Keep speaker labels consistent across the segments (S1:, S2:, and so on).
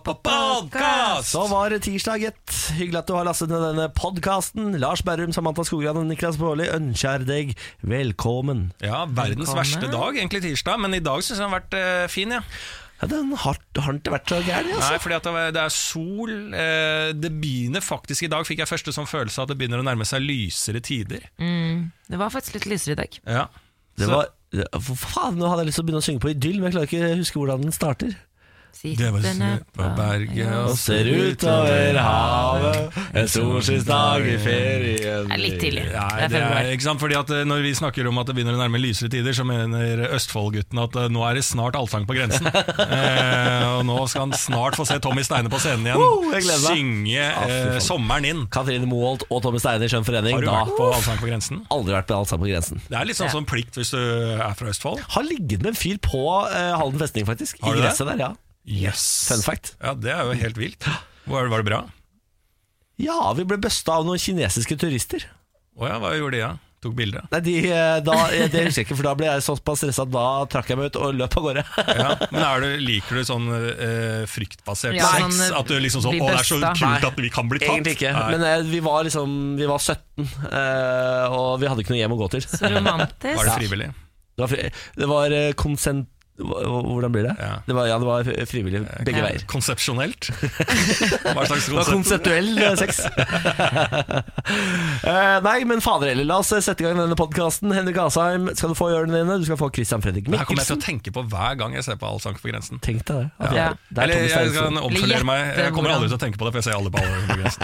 S1: Podkast!
S2: Så var det tirsdag, gitt. Hyggelig at du har lastet ned denne podkasten. Lars Berrum, Samantha Skogran og Niklas Baarli ønsker deg velkommen.
S1: Ja, verdens
S3: Velkommen.
S1: verste dag, egentlig tirsdag, men i dag syns jeg den har vært eh, fin, ja.
S2: Ja, den har, har den ikke vært så gæren, altså.
S1: Nei, fordi at det er- det er sol. eh, Det begynner faktisk I dag fikk jeg første sånn følelse av at det begynner å nærme seg lysere tider.
S3: Mm. Det var faktisk litt lysere i dag.
S1: Ja.
S2: Det
S1: Så-
S2: var, det- for faen, nå hadde jeg lyst til å begynne å synge på Idyll, men jeg klarer ikke å huske hvordan den starter.
S1: Det var altså.
S3: Sitter ned
S1: snø på berget og
S2: ser utover havet, en solskinnsdag i ferien.
S3: Det er litt tidlig.
S1: Nei, det er, ikke sant? Fordi at eh, Når vi snakker om at det begynner å nærme lysere tider, så mener Østfold-guttene at eh, nå er det snart allsang på grensen. eh, og Nå skal han snart få se Tommy Steine på scenen igjen
S2: Woo, jeg gleder meg.
S1: synge
S2: Ah, fy
S1: eh,
S2: faen.
S1: sommeren inn.
S2: Katrine Moholt og Tommy Steine i Skjønn forening.
S1: Har du
S2: Da altså
S1: vært på Allsang på grensen?
S2: aldri vært på Allsang på grensen.
S1: Det er litt sånn som plikt hvis du er fra Østfold.
S2: Har ligget med en fyr på eh, Halden festning, faktisk.
S1: Har
S2: I
S1: du det?
S2: gresset der, ja.
S1: Yes.
S2: Fun fact.
S1: Ja, Det er jo helt vilt. Var, var det bra?
S2: Ja, vi ble busta av noen kinesiske turister.
S1: Å ja, hva gjorde de da? Tok bilde?
S2: Nei, de, eh, da, eh, Det husker jeg ikke, for da ble jeg såpass stressa at da trakk jeg meg ut og løp av gårde.
S1: Ja. Men er du, liker du sånn eh, fryktbasert
S3: Ja,
S1: sex?
S3: sånn, eh,
S1: at du liksom sånn
S3: bli
S1: Å, det er så
S3: busta».
S1: kult at vi kan bli tatt.
S2: Egentlig ikke,
S1: Nei.
S2: men eh, vi var liksom Vi var 17, eh, og vi hadde ikke noe hjem å gå til.
S3: Så romantisk.
S1: Var det frivillig?
S2: Det var, fri, det var eh, konsent... hva- Hvordan blir det?
S1: Ja.
S2: Det var, ja, det var frivillig begge
S3: Ja.
S2: veier.
S1: Konsepsjonelt? Hva slags
S2: Det var
S1: konsept?
S2: konseptuell eh, sex. Eh, nei, men fader heller, la oss eh, sette i gang denne podkasten. Henrik Asheim skal du få i ørene dine. Du skal få Christian Fredrik
S1: Det her kommer jeg til
S2: Mikkelsen.
S1: å tenke på hver gang jeg ser på Allsang på grensen.
S2: Tenk deg det. At
S3: Ja.
S2: det er- det er
S1: Eller
S2: Tommy
S1: jeg
S2: Steinesen.
S1: kan omfordere
S3: Eller
S1: meg. Jeg
S3: gjette
S1: kommer aldri
S3: hvordan.
S1: til å tenke på det, for jeg ser alle på Allsang på grensen.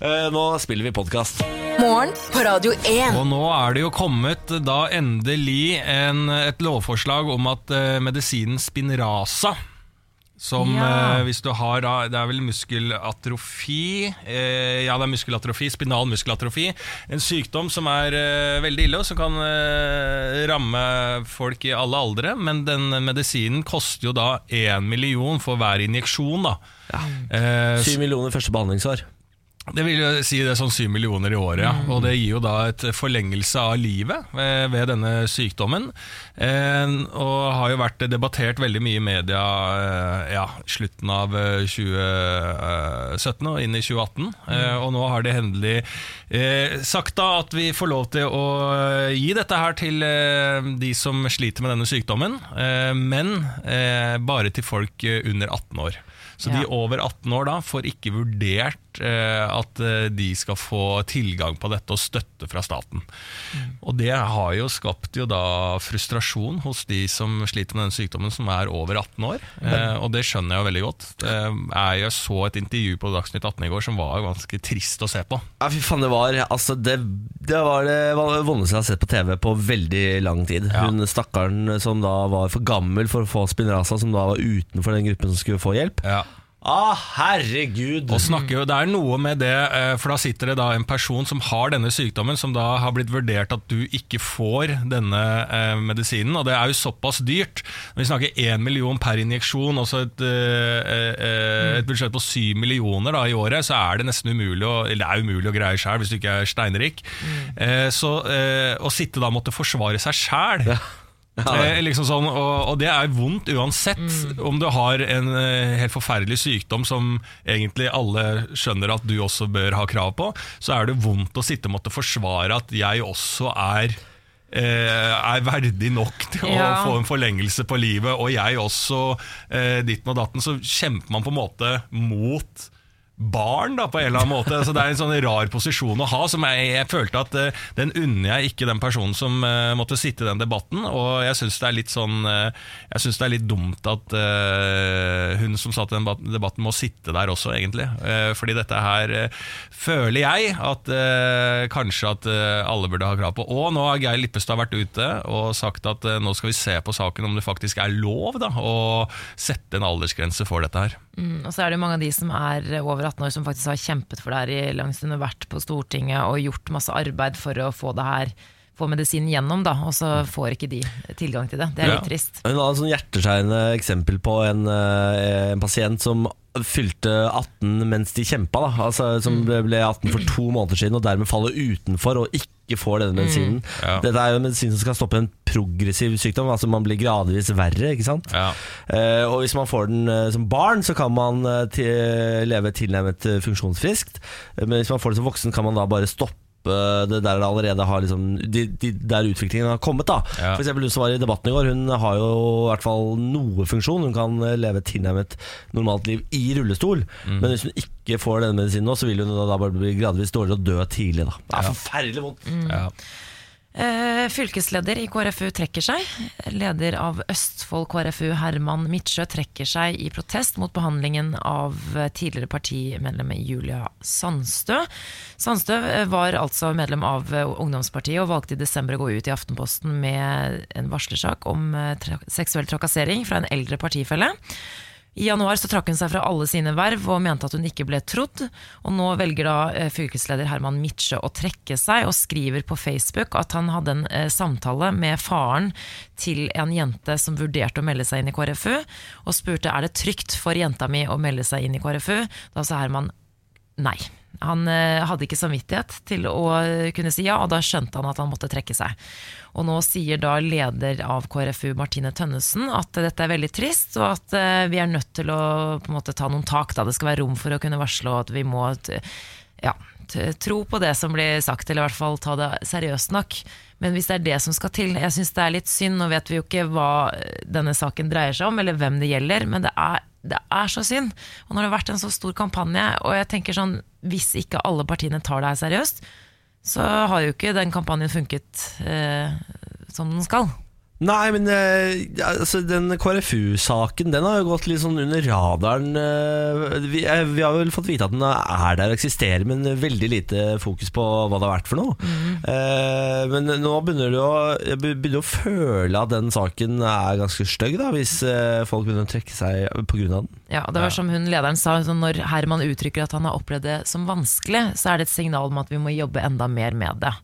S2: Eh, nå spiller vi podkast.
S4: Morgen på Radio 1.
S1: Og nå er det jo kommet da endelig en, et lovforslag om at eh, medisinen Spinraza som
S3: Ja.
S1: eh, hvis du har da, Det er vel muskelatrofi eh, Ja, det er muskelatrofi, spinal muskelatrofi. En sykdom som er eh, veldig ille, og som kan eh, ramme folk i alle aldre. Men den medisinen koster jo da én million for hver injeksjon, da. Eh,
S2: Syv millioner første behandlingsår.
S1: det vil jo si det er sånn 7 millioner i året, ja. og det gir jo da et forlengelse av livet eh, ved denne sykdommen. Eh, Og har jo vært debattert veldig mye i media eh, ja, slutten av eh, 2017 og inn i 2018. Eh, Og nå har det endelig eh, sagt da at vi får lov til å eh, gi dette her til eh, de som sliter med denne sykdommen, eh, men eh, bare til folk eh, under 18 år. Så de
S3: Ja.
S1: over 18 år da får ikke vurdert eh, at eh, de skal få tilgang på dette og støtte fra staten. Og det har jo skapt jo da frustrasjon hos de som sliter med denne sykdommen, som er over 18 år. Eh, og det skjønner jeg jo veldig godt. Eh, jeg så et intervju på Dagsnytt 18 i går som var ganske trist å se på.
S2: Ja, fy faen, det var altså, det, det var det vondeste jeg har sett på TV på veldig lang tid.
S1: Ja.
S2: Hun stakkaren som da var for gammel for å få Spinraza, som da var utenfor den gruppen som skulle få hjelp.
S1: Ja.
S2: Ah, herregud!
S1: Og snakker jo, Det er noe med det, eh, for da sitter det da en person som har denne sykdommen, som da har blitt vurdert at du ikke får denne eh, medisinen, og det er jo såpass dyrt. Vi snakker én million per injeksjon, også et, eh, eh, et budsjett på syv millioner da, i året, så er det nesten umulig å, eller det er umulig å greie sjøl hvis du ikke er steinrik. Eh, så eh, å sitte da og måtte forsvare seg sjæl Eh, liksom sånn, og, og det er vondt uansett om du har en eh, helt forferdelig sykdom som egentlig alle skjønner at du også bør ha krav på, så er det vondt å sitte og måtte forsvare at jeg også er eh, er verdig nok til å
S3: Ja.
S1: få en forlengelse på livet, og jeg også, eh, ditten og datten, så kjemper man på en måte mot barn, da, på en eller annen måte. Så det er en sånn rar posisjon å ha, som jeg, jeg følte at eh, den unner jeg ikke den personen som eh, måtte sitte i den debatten, og jeg syns det er litt sånn eh, Jeg synes det er litt dumt at eh, hun som satt i den bat- debatten, må sitte der også, egentlig. Eh, fordi dette her eh, føler jeg at eh, kanskje at eh, alle burde ha krav på. Og nå har Geir Lippestad vært ute og sagt at eh, nå skal vi se på saken om det faktisk er lov da, å sette en aldersgrense for dette her.
S3: Mm, Og så er det jo mange av de som er over 18 år som faktisk har kjempet for det her i lang stund og vært på Stortinget og gjort masse arbeid for å få det her, få medisinen gjennom, da, og så får ikke de tilgang til det. Det er
S1: Mm. Ja.
S3: litt trist.
S2: Hun hadde et sånn hjerteskjærende eksempel på en, eh, en pasient som fylte 18 mens de kjempa. Da. Altså, som ble- ble 18 for to måneder siden og dermed faller utenfor og ikke ikke får denne medisinen.
S1: Mm. Ja.
S2: Dette er jo en medisin som skal stoppe en progressiv sykdom, altså man blir gradvis verre, ikke sant?
S1: Ja.
S2: Eh, og hvis man får den eh, som barn, så kan man eh, ti- leve tilnærmet eh, funksjonsfriskt. Eh, Men hvis man får det som voksen, kan man da bare stoppe det der det allerede har liksom, de, de, Der utviklingen har kommet. da
S1: Ja.
S2: For eksempel hun som var i debatten i går, hun har jo i hvert fall noe funksjon. Hun kan eh, leve et tilnærmet normalt liv i rullestol. Men hvis hun ikke får denne medisinen nå, så vil hun da, da bare bli gradvis dårligere og dø tidlig. da Det er forferdelig vondt.
S1: Ja.
S3: Eh, fylkesleder i KrFU trekker seg. Leder av Østfold KrFU, Herman Midtsjø, trekker seg i protest mot behandlingen av eh, tidligere partimedlem Julia Sandstø. Sandstø eh, var altså medlem av eh, Ungdomspartiet og valgte i desember å gå ut i Aftenposten med en varslersak om eh, tra seksuell trakassering fra en eldre partifelle. I januar så trakk hun seg fra alle sine verv og mente at hun ikke ble trodd. Og nå velger da eh, fylkesleder Herman Midtsjø å trekke seg og skriver på Facebook at han hadde en eh, samtale med faren til en jente som vurderte å melde seg inn i KrFU, og spurte er det trygt for jenta mi å melde seg inn i KrFU. Da sa Herman nei. Han eh, hadde ikke samvittighet til å eh, kunne si ja, og da skjønte han at han måtte trekke seg. Og nå sier da leder av KrFU, Martine Tønnesen, at dette er veldig trist, og at eh, vi er nødt til å på en måte ta noen tak. Da. Det skal være rom for å kunne varsle, og at vi må eh, t- ja, t- tro på det som blir sagt, eller i hvert fall ta det seriøst nok. Men hvis det er det som skal til Jeg syns det er litt synd, nå vet vi jo ikke hva eh, denne saken dreier seg om, eller hvem det gjelder, men det er, det er så synd. Og når det har vært en så stor kampanje, og jeg tenker sånn Hvis ikke alle partiene tar det her seriøst, så har jo ikke den kampanjen funket eh, som den skal.
S2: Nei, men eh, altså, den KrFU-saken Den har jo gått litt sånn under radaren. eh, vi, eh, vi har vel fått vite at den er der og eksisterer, men veldig lite fokus på hva det har vært for noe. Eh, men nå begynner du å, jeg be- begynner å føle at den saken er ganske stygg, da, hvis eh, folk begynner å trekke seg pga. den.
S3: Ja, og det var som hun lederen sa, sånn når Herman uttrykker at han har opplevd det som vanskelig, så er det et signal om at vi må jobbe enda mer med det.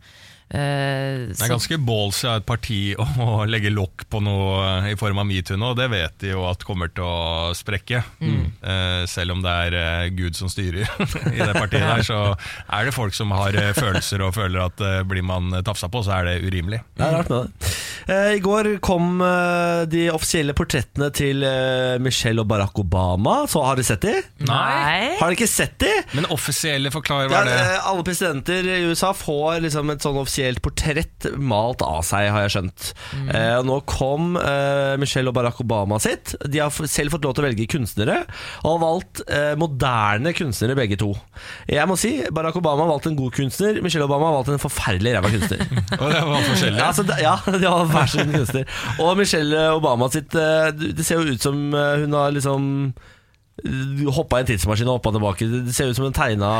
S3: Eh,
S1: Det
S3: så-
S1: er ganske ballsy av et parti å å legge lokk på noe eh, i form av metoo nå. Det vet de jo at kommer til å sprekke.
S2: Mm.
S1: Eh, Selv om det er eh, Gud som styrer i det partiet der, så er det folk som har eh, følelser og føler at eh, blir man tafsa på, så er det urimelig.
S2: Det er rart med det. Eh, I går kom eh, de offisielle portrettene til eh, Michelle og Barack Obama. Så har dere sett de?
S3: Nei.
S2: Har dere ikke sett de?
S1: Men offisielle forklarer
S2: Ja,
S1: hva er det
S2: eh, alle presidenter i USA får liksom et sånn offisielt portrett malt av seg, har jeg skjønt.
S1: Mm.
S2: Eh, og nå kom eh, Michelle og Barack Obama sitt. De har f- selv fått lov til å velge kunstnere, og har valgt eh, moderne kunstnere begge to. Jeg må si Barack Obama har valgt en god kunstner, Michelle Obama har valgt en forferdelig ræva kunstner.
S1: Og det var forskjellig.
S2: Ja, altså, det- ja, de har hver sin kunstner. Og Michelle Obama sitt eh, Det ser jo ut som eh, hun har liksom hoppa i en tidsmaskin og hoppa tilbake. Det ser ut som hun tegna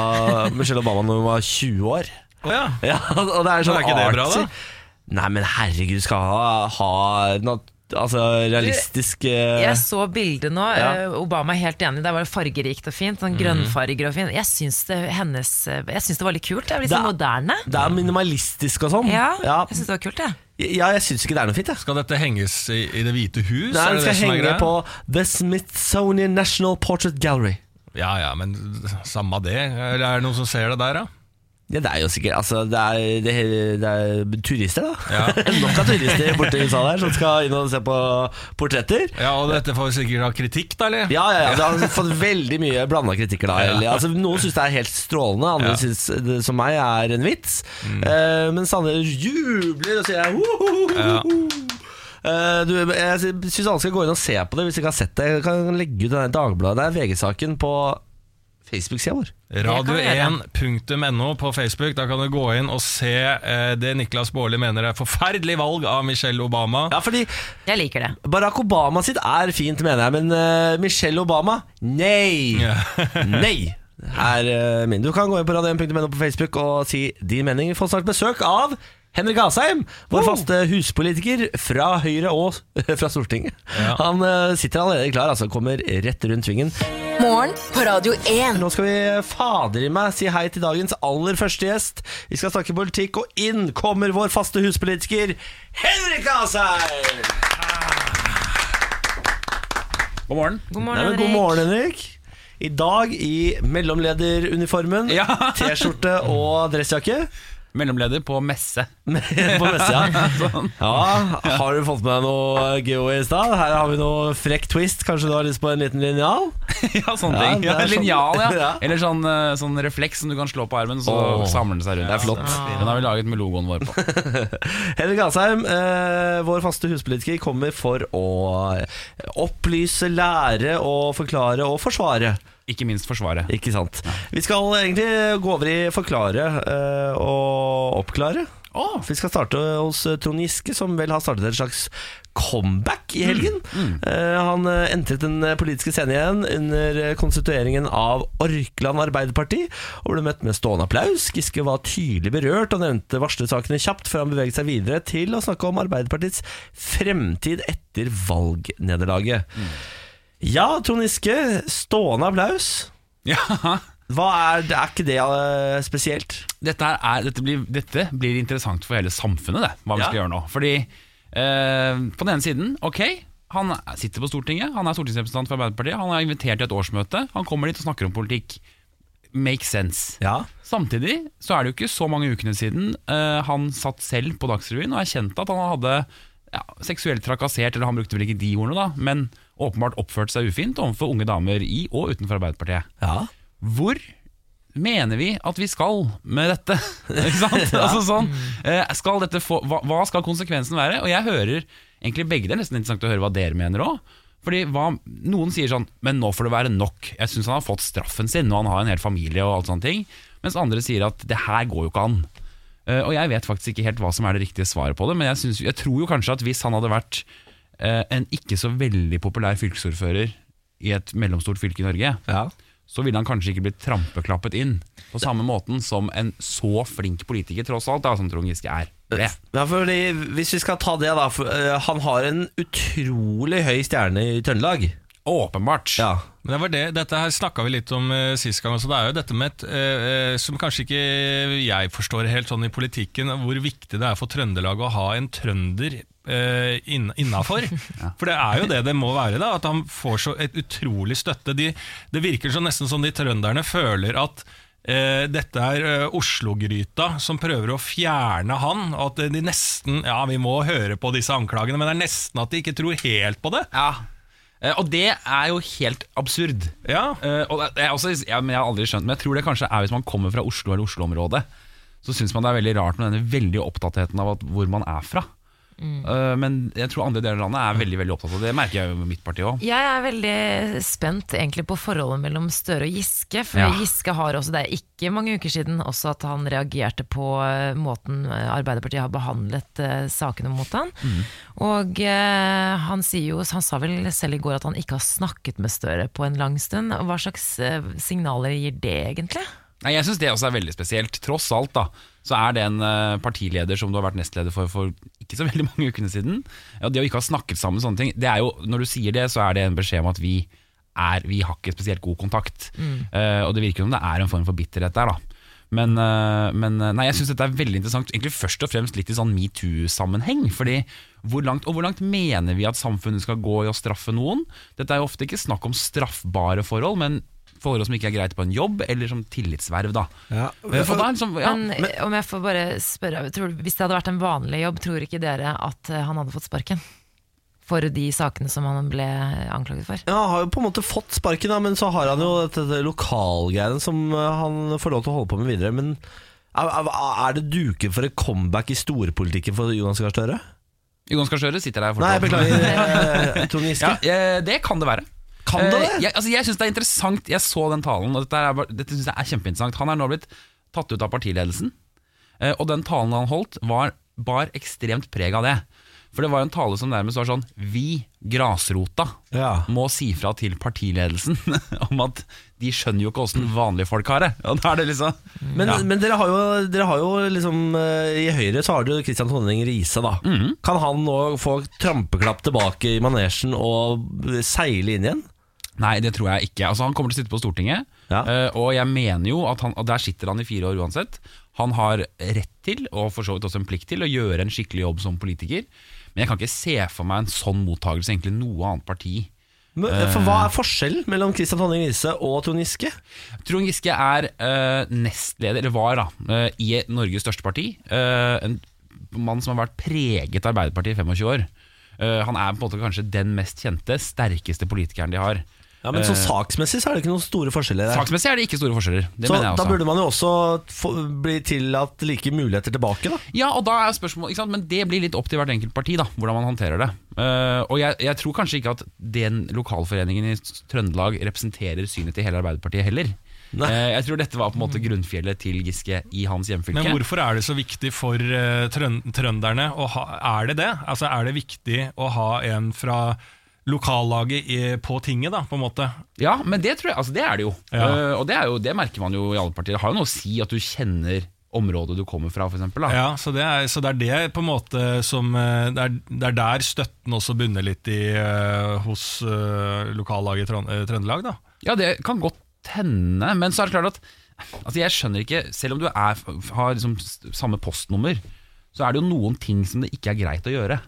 S2: Michelle Obama når hun var 20 år.
S1: Å ja.
S2: Ja, og det er sånn
S1: Men er ikke det bra,
S2: artsy.
S1: da?
S2: Nei, men herregud, skal ha, ha nat altså, realistisk eh,
S3: Jeg så bildet nå.
S2: Ja. Mhm.
S3: eh, Obama er helt enig. Der var det fargerikt og fint. Sånn Grønnfarger og fint. Jeg syns det, hennes, eh, jeg syns det var litt kult. Det er litt sånn
S2: Det er-
S3: moderne.
S2: Det er minimalistisk og sånn.
S3: Ja,
S2: ja.
S3: jeg syns det var kult, jeg.
S2: ja jeg syns ikke det er noe fint, jeg.
S1: Skal dette henges i, i Det hvite hus?
S2: Nei,
S1: er
S2: den
S1: det
S2: skal
S1: det som er
S2: henge
S1: greia?
S2: på The Smithsonian National Portrait Gallery.
S1: Ja ja, men samme det. Eller er det noen som ser det der, da?
S2: Ja, det er jo sikkert Altså, det er, det, er- det er turister, da.
S1: Ja.
S2: Nok av turister borte i USA der som skal inn og se på portretter.
S1: Ja, Og dette får sikkert ha kritikk, da, eller?
S2: Ja, ja, ja. Det har fått veldig mye blanda kritikker da. Eller, altså, noen syns det er helt strålende,
S1: Ja.
S2: andre
S1: Mm.
S2: synes det som meg er en vits. Eh, mens andre jubler og sier
S1: Ja.
S2: «Hohohoho». Eh, du, jeg syns alle skal gå inn og se på det hvis de ikke har sett det. Jeg kan legge ut den der Dagbladet, det er VG-saken på Facebook-sida vår.
S3: Det kan vi gjøre.
S1: Radio1.no på Facebook. Da kan du gå inn og se eh, det Niklas Baarli mener er forferdelig valg av Michelle Obama.
S2: Ja, fordi
S3: Jeg liker det.
S2: Barack Obama sitt er fint, mener jeg, men eh, Michelle Obama nei!
S1: Ja.
S2: nei! Er eh, min. Du kan gå inn på radio1.no på Facebook og si din mening. Vi får snart besøk av Henrik Asheim, vår faste huspolitiker fra Høyre og fra Stortinget.
S1: Ja.
S2: Han eh, sitter allerede klar, altså. Kommer rett rundt svingen.
S4: Morgen på Radio 1.
S2: Nå skal vi fader i meg si hei til dagens aller første gjest. Vi skal snakke politikk, og inn kommer vår faste huspolitiker Henrik Asheim!
S5: God morgen.
S3: God morgen,
S2: Nei, men god
S3: Henrik.
S2: morgen, Henrik. I dag i mellomlederuniformen,
S5: Ja.
S2: T-skjorte og dressjakke.
S5: Mellomleder på messe. Sånn.
S2: på messa. Ja, har du fått med deg noe Geo i stad? Her har vi noe frekk twist. Kanskje du har lyst på en liten linjal?
S5: ja, sånne
S2: Ja,
S5: ting.
S2: det er
S5: Ja,
S2: sånn-
S5: Linjal, ja.
S2: Ja.
S5: Eller sånn, eh, sånn refleks som du kan slå på armen, så
S2: Åh,
S5: samler den seg rundt.
S2: det er flott.
S5: Den har vi laget med logoen vår på.
S2: Henrik Asheim, eh, vår faste huspolitiker, kommer for å opplyse, lære og forklare og forsvare.
S5: Ikke minst Forsvaret.
S2: Ikke sant? Vi skal egentlig gå over i forklare eh, og oppklare.
S5: Åh,
S2: Vi skal starte hos eh, Trond Giske, som vel har startet et slags comeback i helgen. Eh, han eh, entret den eh, politiske scenen igjen under eh, konstitueringen av Orkland Arbeiderparti, og ble møtt med stående applaus. Giske var tydelig berørt og nevnte varslersakene kjapt før han beveget seg videre til å snakke om Arbeiderpartiets fremtid etter valgnederlaget. Ja, Trond Giske, stående applaus.
S5: ja.
S2: Hva er, er ikke det eh, spesielt?
S5: dette, her er, dette, blir, dette blir interessant for hele samfunnet, det, hva vi
S2: Ja.
S5: skal gjøre nå. Fordi eh, på den ene siden, ok, han sitter på Stortinget, han er stortingsrepresentant for Arbeiderpartiet, han er invitert til et årsmøte, han kommer dit og snakker om politikk. Make sense.
S2: Ja.
S5: Samtidig så er det jo ikke så mange ukene siden eh, han satt selv på Dagsrevyen og erkjente at han hadde ja, seksuelt trakassert, eller han brukte vel ikke de ordene da, men åpenbart oppført seg ufint overfor unge damer i og utenfor Arbeiderpartiet.
S2: ja.
S5: Hvor mener vi at vi skal med dette? Ikke sant? altså sånn, eh, skal dette få, hva, hva skal konsekvensen være? Og jeg hører egentlig begge det er nesten interessant å høre hva dere mener òg. Fordi hva, Noen sier sånn Men nå får det være nok. Jeg syns han har fått straffen sin, og han har en hel familie og alt sånne ting. Mens andre sier at det her går jo ikke an. Eh, og jeg vet faktisk ikke helt hva som er det riktige svaret på det, men jeg, synes, jeg tror jo kanskje at hvis han hadde vært eh, en ikke så veldig populær fylkesordfører i et mellomstort fylke i Norge,
S2: Ja.
S5: så ville han kanskje ikke blitt trampeklappet inn på samme måten som en så flink politiker tross alt, da, som Trond Giske er. Det.
S2: Ja, fordi Hvis vi skal ta det, da. For, eh, han har en utrolig høy stjerne i Trøndelag.
S5: Åpenbart.
S2: Ja.
S1: Men det var det, Dette her snakka vi litt om eh, sist gang. Også. Det er jo dette med et, eh, eh, som kanskje ikke jeg forstår helt sånn i politikken, hvor viktig det er for Trøndelag å ha en trønder eh, inn- innafor. For det er jo det det må være, da, at han får så et utrolig støtte. De, det virker så nesten som de trønderne føler at Eh, dette er eh, Oslo-gryta som prøver å fjerne han. og At de nesten Ja, vi må høre på disse anklagene, men det er nesten at de ikke tror helt på det.
S5: Ja. Eh, Og det er jo helt absurd.
S1: Ja,
S5: Eh, og det er også, ja, men jeg har aldri skjønt Men jeg tror det kanskje er hvis man kommer fra Oslo eller Oslo-området, så syns man det er veldig rart med denne veldig opptattheten av at, hvor man er fra. Eh, men jeg tror andre deler av landet er veldig veldig opptatt av det. Det merker jeg jo med mitt parti òg.
S3: Jeg er veldig spent egentlig på forholdet mellom Støre og Giske. For
S5: Ja.
S3: Giske har også, det er ikke mange uker siden, også at han reagerte på eh, måten eh, Arbeiderpartiet har behandlet eh, sakene mot han.
S5: Mm.
S3: Og eh, han, sier jo, han sa vel selv i går at han ikke har snakket med Støre på en lang stund. Hva slags eh, signaler gir det egentlig?
S5: Nei, Jeg syns det også er veldig spesielt. Tross alt da så er det en eh, partileder som du har vært nestleder for for ikke så veldig mange ukene siden. Ja, det å ikke ha snakket sammen sånne ting det er jo, Når du sier det, så er det en beskjed om at vi, er, vi har ikke spesielt god kontakt. Eh, og det virker som det er en form for bitterhet der, da. Men, eh, men eh, nei, jeg syns dette er veldig interessant, egentlig først og fremst litt i sånn metoo-sammenheng. fordi hvor langt, Og hvor langt mener vi at samfunnet skal gå i å straffe noen? Dette er jo ofte ikke snakk om straffbare forhold, men forhold som ikke er greit på en jobb, eller som tillitsverv, da. Eh, og da er det liksom, ja,
S3: Men, om jeg får bare spørre, tror, du- hvis det hadde vært en vanlig jobb, tror ikke dere at eh, han hadde fått sparken? For de sakene som han ble anklaget for?
S2: Ja, Han har jo på en måte fått sparken, da, men så har han jo dette dette lokalgreiene som eh, han får lov til å holde på med videre. Men er, er- er det duket for et comeback i storpolitikken for Jonas Gahr Støre?
S5: Jonas Gahr Støre sitter der
S2: Nei,
S5: fortsatt.
S2: beklager. eh, Trond Giske.
S5: Ja, eh, det kan det være.
S2: Kan det
S5: Eh,
S2: det?
S5: Jeg, altså, jeg syns det er interessant. Jeg så den talen, og dette, er, bare- dette synes jeg er kjempeinteressant. Han er nå blitt tatt ut av partiledelsen, eh, og den talen han holdt, var, bar ekstremt preg av det. For det var en tale som nærmest var sånn Vi, grasrota,
S2: Ja.
S5: må si fra til partiledelsen om at de skjønner jo ikke åssen vanlige folk har det. Og da er det liksom
S2: Men,
S5: Ja.
S2: men dere har jo, dere har jo liksom eh, I Høyre så har dere jo Kristian Tonning Riise, da. Kan han nå få trampeklapp tilbake i manesjen og seile inn igjen?
S5: Nei, det tror jeg ikke. Altså, han kommer til å sitte på Stortinget,
S2: Ja.
S5: eh, og jeg mener jo at han, og der sitter han i fire år uansett. Han har rett til, og for så vidt også en plikt til, å gjøre en skikkelig jobb som politiker. Men jeg kan ikke se for meg en sånn mottagelse egentlig noe annet parti
S2: Men, eh, for Hva er forskjellen mellom Kristian Tonning Riise og Trond Giske?
S5: Trond Giske er eh, nestleder, eller var da, eh, i Norges største parti. Eh, en mann som har vært preget av Arbeiderpartiet i 25 år. Eh, han er på en måte kanskje den mest kjente, sterkeste politikeren de har.
S2: Ja, men sånn Saksmessig så er det ikke noen store forskjeller. der
S5: Saksmessig er det ikke store forskjeller. Det
S2: Så
S5: mener jeg
S2: da
S5: også.
S2: burde man jo også få, bli tillatt like muligheter tilbake, da.
S5: Ja, og da er spørsmålet, ikke sant? Men det blir litt opp til hvert enkelt parti, da, hvordan man håndterer det. Eh, og jeg, jeg tror kanskje ikke at den lokalforeningen i Trøndelag representerer synet til hele Arbeiderpartiet heller.
S2: Nei.
S5: Eh, jeg tror dette var på en måte grunnfjellet til Giske i hans hjemfylke.
S1: Men hvorfor er det så viktig for eh, trøn trønderne å ha Er det det? Altså Er det viktig å ha en fra lokallaget i, på tinget, da, på en måte?
S5: Ja, men det tror jeg, altså det er det jo.
S1: Ja.
S5: Eh, og det, er jo, det merker man jo i alle partier. Det har jo noe å si at du kjenner området du kommer fra, for eksempel. Da.
S1: Ja, så det, er, så det er det på en måte som eh, Det er, det er der støtten også bunner litt i, eh, hos eh, lokallaget i Trøn- eh, Trøndelag, da.
S5: Ja. det kan godt hende, men så er det klart at altså jeg skjønner ikke, selv om du er, har liksom s- samme postnummer, så er det jo noen ting som det ikke er greit å gjøre,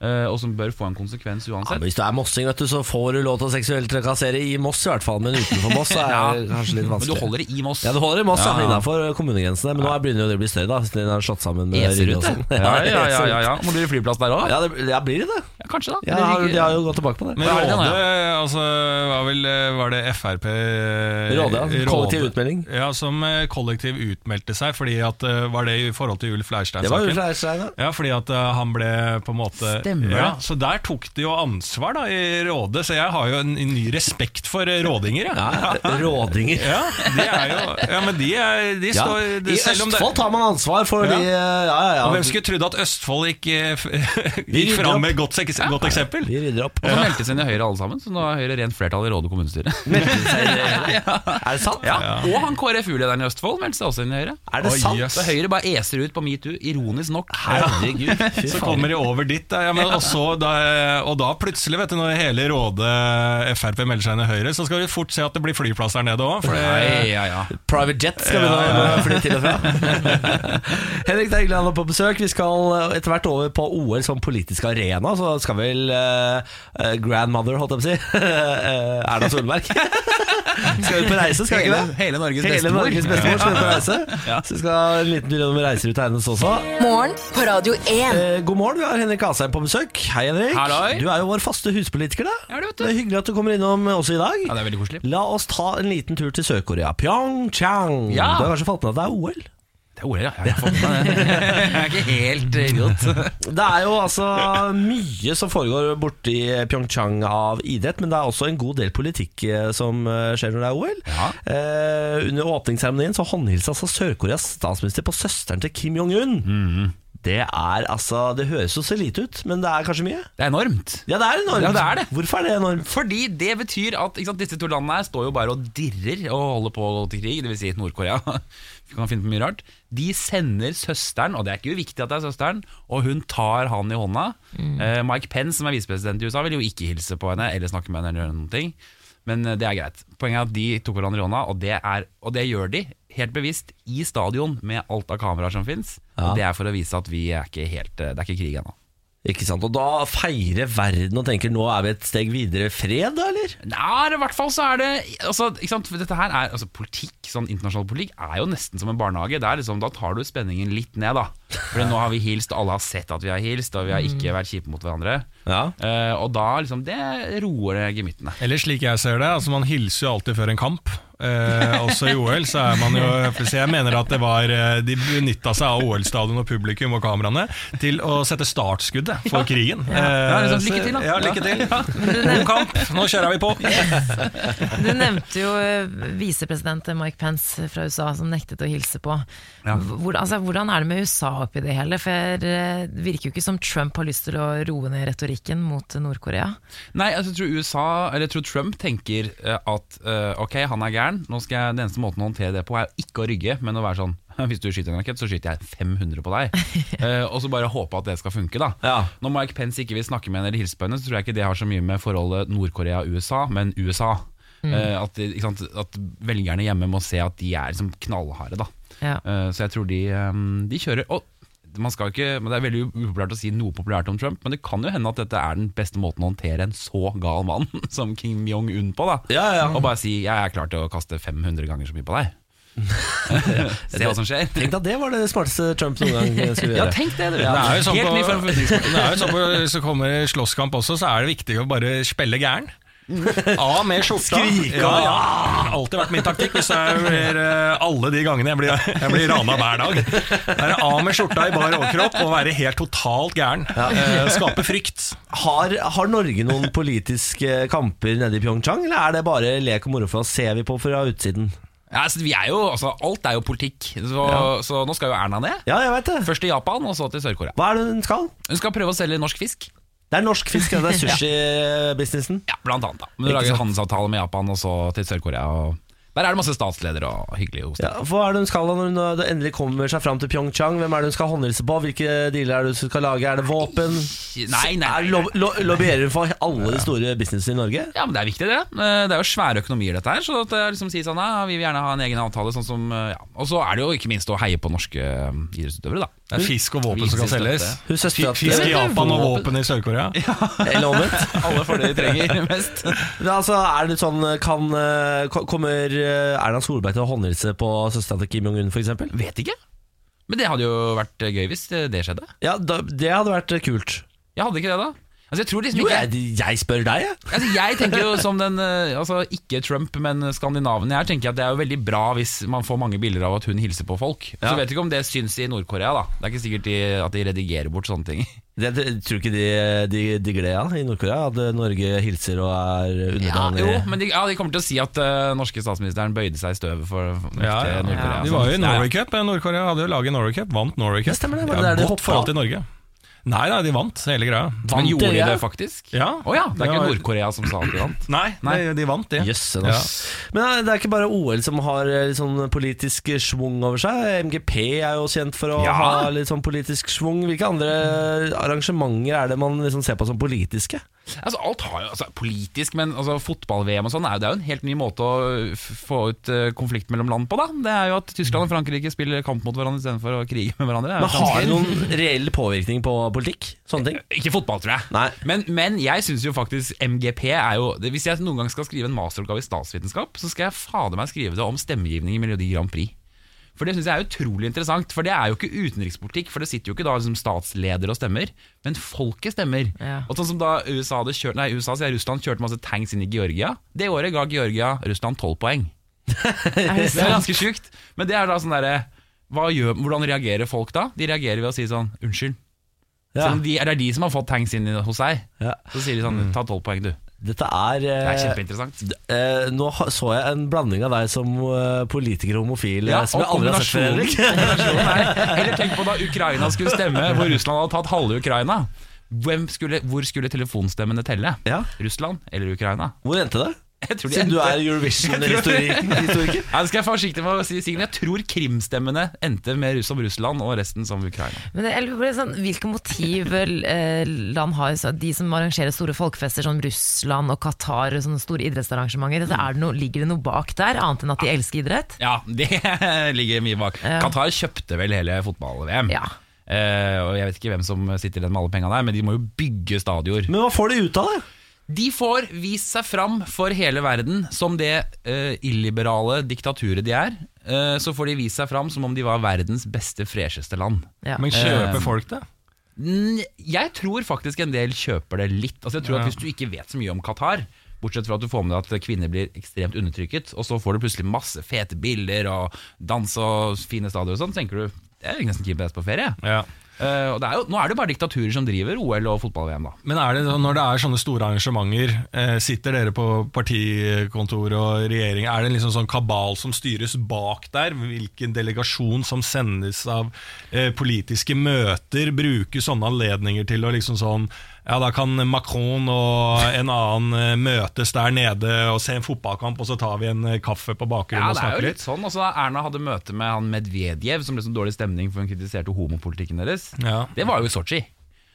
S5: eh, og som bør få en konsekvens
S2: Ja,
S5: uansett.
S2: men hvis du er mossing, vet du, så får du lov til å seksuelt trakassere i Moss i hvert fall. Men utenfor Moss så er det kanskje litt
S5: men du
S2: vanskelig.
S5: holder det i Moss.
S2: Ja, du holder i Moss ja.
S5: Ja, ja.
S2: innenfor eh, kommunegrensene. Men nå begynner jo det å bli større, da. Siden den er slått sammen med Rygge og
S5: Eserute.
S2: sånn.
S5: Ja, ja, ja, ja,
S2: Eserute.
S5: ja. Må du i flyplass der også?
S2: Ja, det, ja, blir det det?
S5: Ja, kanskje da.
S2: Ja, de har- de har jo gått tilbake på det.
S1: Men
S5: Hva er det
S1: Råde
S5: den er?
S1: altså, var, vel, eh, var det Frp
S2: Råde, ja.
S1: eh, Råde-
S2: altså, Kollektiv utmelding.
S1: Ja, som eh, kollektiv utmeldte seg. Fordi at, eh, Var det i forhold til Ulf
S2: Det var
S1: Leirstein-saken?
S2: Ulf Leirstein, da.
S1: Ja, fordi at eh, han ble på en måte
S5: Stemmer det.
S1: ja, Så der tok de jo ansvar da i Råde, så jeg har jo en, en ny respekt for eh, rådinger. Ja.
S2: Ja, Rådinger.
S1: Ja, de er jo, ja, men de, er, de
S2: Ja.
S1: står
S2: I
S1: de- selv om det-
S2: Østfold tar man ansvar for
S1: Ja.
S2: de eh, Ja, ja,
S1: Og
S2: ja.
S1: Hvem skulle trodd at Østfold gikk, eh, f- gikk
S2: rydder
S1: fram
S2: opp.
S1: med godt, seks- godt eksempel?
S2: Vi rydder opp.
S5: Og så meldte seg inn i Høyre alle sammen, så nå har Høyre rent flertall i Råde kommunestyre.
S2: Er det sant?
S5: Ja. Og han KrFU-lederen i Østfold meldte seg også inn i Høyre.
S2: Er det
S1: Oi,
S2: sant?
S1: jøss.
S5: Så Høyre bare eser ut på metoo, ironisk nok.
S2: Herregud. Fy
S1: Så
S2: faen.
S1: kommer de over dit, da. ja, men også, da, og da plutselig, vet du, når hele Råde Frp melder seg inn i Høyre, så skal du fort se at det blir flyplass der nede òg.
S5: Nei, ja, ja.
S2: Private jet skal vi nå fly til og fra. Henrik Degland er på besøk. Vi skal eh, etter hvert over på OL som politisk arena. Så skal vel eh, eh, grandmother, holdt jeg på å si, eh, Erna Solberg Skal vi på reise, skal vi ikke
S5: Hele,
S2: det?
S5: hele Norges
S2: Hele
S5: bestemor.
S2: Norges bestemor skal vi på reise. Så vi skal ha en liten tur gjennom reiseruta hennes også.
S4: Morgen på Radio 1.
S2: Eh, god morgen, vi har Henrik Asheim på besøk. Hei, Henrik.
S5: Halloi.
S2: Du er jo vår faste huspolitiker, da.
S5: Ja, det vet du.
S2: Det er hyggelig at du kommer innom eh, også i dag.
S5: Ja, det er veldig koselig.
S2: La oss ta en liten tur til Sør-Korea. Pyeongchang.
S5: Ja.
S2: Du har kanskje fått med at det er OL?
S5: Det er ordet, ja. Jeg har fått med det. Jeg er ikke helt idiot.
S2: Det er jo altså mye som foregår borti Pyeongchang av idrett, men det er også en god del politikk eh, som eh, skjer når det er OL.
S5: Ja.
S2: Eh, under åpningsseremonien så håndhilsa altså Sør-Koreas statsminister på søsteren til Kim Jong-un. Det er altså Det høres jo så lite ut, men det er kanskje mye?
S5: Det er enormt.
S2: Ja, det er enormt.
S5: Ja, det er det.
S2: Hvorfor er det enormt?
S5: Ehm, Fordi det betyr at ikke sant, disse to landene her står jo bare og dirrer og holder på å gå til krig, dvs. Si Nord-Korea. Vi kan finne på mye rart. De sender søsteren, og det er ikke uviktig at det er søsteren, og hun tar han i hånda. Eh, Mike Pence, som er visepresident i USA, vil jo ikke hilse på henne eller snakke med henne eller gjøre noen ting. Men eh, det er greit. Poenget er at de tok hverandre i hånda, og det, er, og det gjør de helt bevisst i stadion med alt av kameraer som fins.
S2: Ja.
S5: Og det er for å vise at vi er ikke helt eh, Det er ikke krig ennå.
S2: Ikke sant? Og da feirer verden og tenker nå er vi et steg videre. Fred, da, eller?
S5: Nei, i hvert fall så er det altså, ikke sant? for Dette her er, altså, politikk, sånn internasjonal politikk er jo nesten som en barnehage. Det er liksom, da tar du spenningen litt ned, da. For nå har vi hilst, alle har sett at vi har hilst, og vi har ikke vært kjipe mot hverandre.
S2: Ja.
S5: Eh, og da liksom, det roer gemyttene.
S1: Eller slik jeg ser det, altså man hilser jo alltid før en kamp. Eh, også i OL så er man jo Så jeg mener at det var eh, De benytta seg av OL-stadion og publikum og kameraene til å sette startskuddet for krigen.
S5: Ja,
S1: Eh,
S5: liksom,
S1: så-
S5: lykke til, da.
S1: Ja, lykke til.
S3: Men du, nevnte,
S1: Kamp, nå kjører vi på!
S3: du nevnte jo eh, visepresident Mike Pence fra USA som nektet å hilse på. Hvordan, altså, hvordan er det med USA oppi det hele? For eh, det virker jo ikke som Trump har lyst til å roe ned retorikken mot Nord-Korea.
S5: Nei, altså, jeg tror USA, eller jeg tror Trump tenker eh, at eh, ok, han er gæren, nå skal jeg, den eneste måten å håndtere det på er ikke å rygge, men å være sånn hvis du skyter en rakett, så skyter jeg 500 på deg. Eh, og så bare håpe at det skal funke, da.
S2: Ja.
S5: Når Mike Pence ikke vil snakke med henne eller hilse på henne, så tror jeg ikke det har så mye med forholdet Nord-Korea og USA, men USA. Eh, at, ikke sant, at velgerne hjemme må se at de er liksom knallharde, da.
S3: Ja.
S5: Eh, så jeg tror de, eh, de kjører Og man skal ikke, men Det er veldig upopulært å si noe populært om Trump, men det kan jo hende at dette er den beste måten å håndtere en så gal mann som Kim Jong-un på. da
S2: Ja, ja.
S5: Og bare si 'jeg er klar til å kaste 500 ganger så mye på deg'. Se hva som skjer.
S2: Tenk deg, det var det smarteste Trump noen gang eh, skulle gjøre.
S5: tenk det,
S1: Det er jo sånn
S5: Helt ny
S1: på,
S5: form for
S1: det er jo sånn på Hvis det kommer slåsskamp også, så er det viktig å bare spille gæren. Av med skjorta.
S2: Skrike,
S1: ja, ja. Alltid vært min taktikk. Hvis det er eh, alle de gangene jeg blir, jeg blir rana hver dag. Det er av med skjorta i bar overkropp og være helt totalt gæren. Eh, Skape frykt.
S2: Har, har Norge noen politiske kamper nede i Pyeongchang, eller er det bare lek og moro for oss? Ser vi på fra utsiden?
S5: ja, altså, vi er jo, altså, Alt er jo politikk, så, så nå skal jo Erna ned.
S2: Ja, jeg veit det.
S5: Først til Japan, og så til Sør-Korea.
S2: Hva er det hun skal?
S5: Hun skal prøve å selge norsk fisk.
S2: Det er norsk fisk, det er eh, sushi-businessen.
S5: Ja, blant annet da Men du
S2: Ikke
S5: lager
S2: sant.
S5: handelsavtale med Japan, og så til Sør-Korea. og Der er det masse statsledere og hyggelige hos
S2: Ja, hva er det hun skal da når hun da endelig kommer seg fram til Pyeongchang? Hvem er det hun skal håndhilse på? Hvilke dealer er det hun skal lage? Er det våpen?
S5: Nei, nei,
S2: Er lo lo lobbyerer hun for alle de store businessene i Norge?
S5: Ja, men Det er viktig, det. Eh, Det er jo svære økonomier, dette her. Så at jeg liksom sier sånn ja, Vi vil gjerne ha en egen avtale. Sånn som, eh, ja. Og så er det jo ikke minst å heie på norske eh, idrettsutøvere, da.
S1: Det er fisk og våpen som skal selges.
S2: Hun søstera
S1: Fisk i
S2: til
S1: Japan og våpen i Sør-Korea.
S2: Eller omvendt.
S5: Alle får det de trenger mest.
S2: Men Altså, er det sånn, kan, eh, ko- Kommer eh, Erna Solberg til å håndhilse på søstera til Kim Jong-un, f.eks.?
S5: Vet ikke. Men det hadde jo vært eh, gøy hvis det det skjedde.
S2: Ja, da, det hadde vært eh, kult.
S5: Jeg hadde ikke det, da. Altså, jeg tror liksom
S2: Jo,
S5: ikke
S2: jeg, jeg spør deg, jeg.
S5: Altså, jeg tenker jo som den eh, altså, Ikke Trump, men skandinaven jeg er, tenker jeg at det er jo veldig bra hvis man får mange bilder av at hun hilser på folk. Så vet jeg ikke om det syns i Nord-Korea, da. Det er ikke sikkert de, at de redigerer bort sånne ting.
S2: Det, det, tror du ikke de, de, de gleda i Nord-Korea? At eh, Norge hilser og er
S5: Ja,
S2: underdanig?
S5: jo, men de, ja, de kommer til å si at eh, norske statsministeren bøyde seg i støvet for for-
S1: Ja,
S5: til
S1: ja.
S5: Nord-Korea.
S1: De var jo i
S5: Sånn.
S1: Norway Cup. eh, Nord-Korea hadde jo laget Norway Cup, vant Norway Cup.
S2: Det stemmer det, var
S1: Ja,
S2: det der de
S1: godt
S2: hoppa
S1: forhold til
S2: av?
S1: Norge. Nei, nei, de vant hele greia.
S5: Ja. Men
S2: Vant
S5: gjorde de
S2: dere?
S5: det faktisk? Å ja.
S1: Ja.
S5: det er ikke
S1: var-
S5: Nord-Korea som sa at de vant.
S1: Nei,
S5: Nei.
S1: de- de vant, de.
S2: Jøssen, ass. Men eh, det er ikke bare OL som har eh, litt sånn politisk schwung over seg. MGP er jo kjent for å
S5: Ja.
S2: ha litt sånn politisk schwung. Hvilke andre arrangementer er det man liksom ser på som politiske?
S5: Altså, alt har jo, altså, politisk, men altså, fotball-VM og sånn, er jo- det er jo en helt ny måte å f- få ut eh, konflikt mellom land på, da. Det er jo at Tyskland og Frankrike spiller kamp mot hverandre istedenfor å krige med hverandre. Det er jo
S2: Men har
S5: ganske-
S2: det noen reell påvirkning på politikk? Sånne ting?
S5: Ikke fotball, tror jeg.
S2: Nei.
S5: Men, men jeg syns jo faktisk MGP er jo det- Hvis jeg noen gang skal skrive en masteroppgave i statsvitenskap, så skal jeg fader meg skrive det om stemmegivning i Melodi Grand Prix. For det syns jeg er utrolig interessant. For det er jo ikke utenrikspolitikk, for det sitter jo ikke da liksom statsledere og stemmer, men folket stemmer.
S3: Ja.
S5: Og sånn som da USA hadde kjørt Nei, USA, sier jeg, Russland kjørte masse tanks inn i Georgia. Det året ga Georgia Russland tolv poeng.
S3: Er det
S5: Det er
S3: sant?
S5: ganske sjukt. Men det er da sånn derre hva gjør- Hvordan reagerer folk da? De reagerer ved å si sånn Unnskyld.
S2: Ja.
S5: Selv om de, det er de som har fått tanks inn i- hos seg.
S2: Sånn- Ja.
S5: Så sier de sånn, ta 12 poeng du Det
S2: Dette er, eh,
S5: er kjempeinteressant
S2: Eh, nå ha- så jeg en blanding av deg som eh, politiker og homofil eh, som jeg aldri har sett før.
S5: kombinasjonen-
S2: Henrik.
S5: kombinasjonen her. Eller tenk på da Ukraina skulle stemme Hvor Russland hadde tatt halve Ukraina Hvem skulle, Hvor skulle telefonstemmene telle?
S2: Ja.
S5: Russland eller Ukraina?
S2: Hvor endte det?
S5: Jeg tror de
S2: Siden du
S5: endte-
S2: er Eurovision-historiker.
S5: ja, det skal jeg være forsiktig med å si, Signe Jeg tror krimstemmene endte med Russ som Russland Og resten som Ukraina
S3: Men det- jeg lurer på litt sånn, Hvilke motiv eh, land har så de som arrangerer store folkefester som Russland og Qatar? og Sånne store idrettsarrangementer. Altså, er det noe, ligger det noe bak der, annet enn at de elsker idrett?
S5: Ja, det ligger mye bak.
S3: Ja.
S5: Qatar kjøpte vel hele fotball-VM.
S3: Ja.
S5: Eh, og Jeg vet ikke hvem som sitter igjen med alle pengene der, men de må jo bygge stadioner.
S2: Men hva får de ut av det?
S5: De får vist seg fram for hele verden som det eh, illiberale diktaturet de er. Eh, så får de vist seg fram som om de var verdens beste, fresheste land.
S3: Ja.
S1: Men kjøper folk det?
S5: Mm, Jeg tror faktisk en del kjøper det litt. Altså jeg tror at
S1: Ja.
S5: Hvis du ikke vet så mye om Qatar, bortsett fra at du får med deg at kvinner blir ekstremt undertrykket, og så får du plutselig masse fete bilder og dans og fine stadioner og sånn, så tenker du det er jo nesten keen på å reise på ferie.
S1: Ja.
S5: Eh, og det er jo, nå er det jo bare diktaturer som driver OL og fotball-VM, da.
S1: Men er det, sånn, når det er sånne store arrangementer, eh, sitter dere på partikontor og regjering, er det en liksom sånn kabal som styres bak der? Hvilken delegasjon som sendes av eh, politiske møter, bruker sånne anledninger til å liksom sånn ja, da kan Macron og en annen eh, møtes der nede og se en fotballkamp, og så tar vi en eh, kaffe på bakgrunnen
S5: Ja,
S1: og
S5: det er jo
S1: snakker
S5: litt
S1: litt.
S5: sånn. Også da Erna hadde møte med han Medvedev, som ble sånn dårlig stemning for hun kritiserte homopolitikken deres.
S1: Ja.
S5: Det var jo i Sotsji.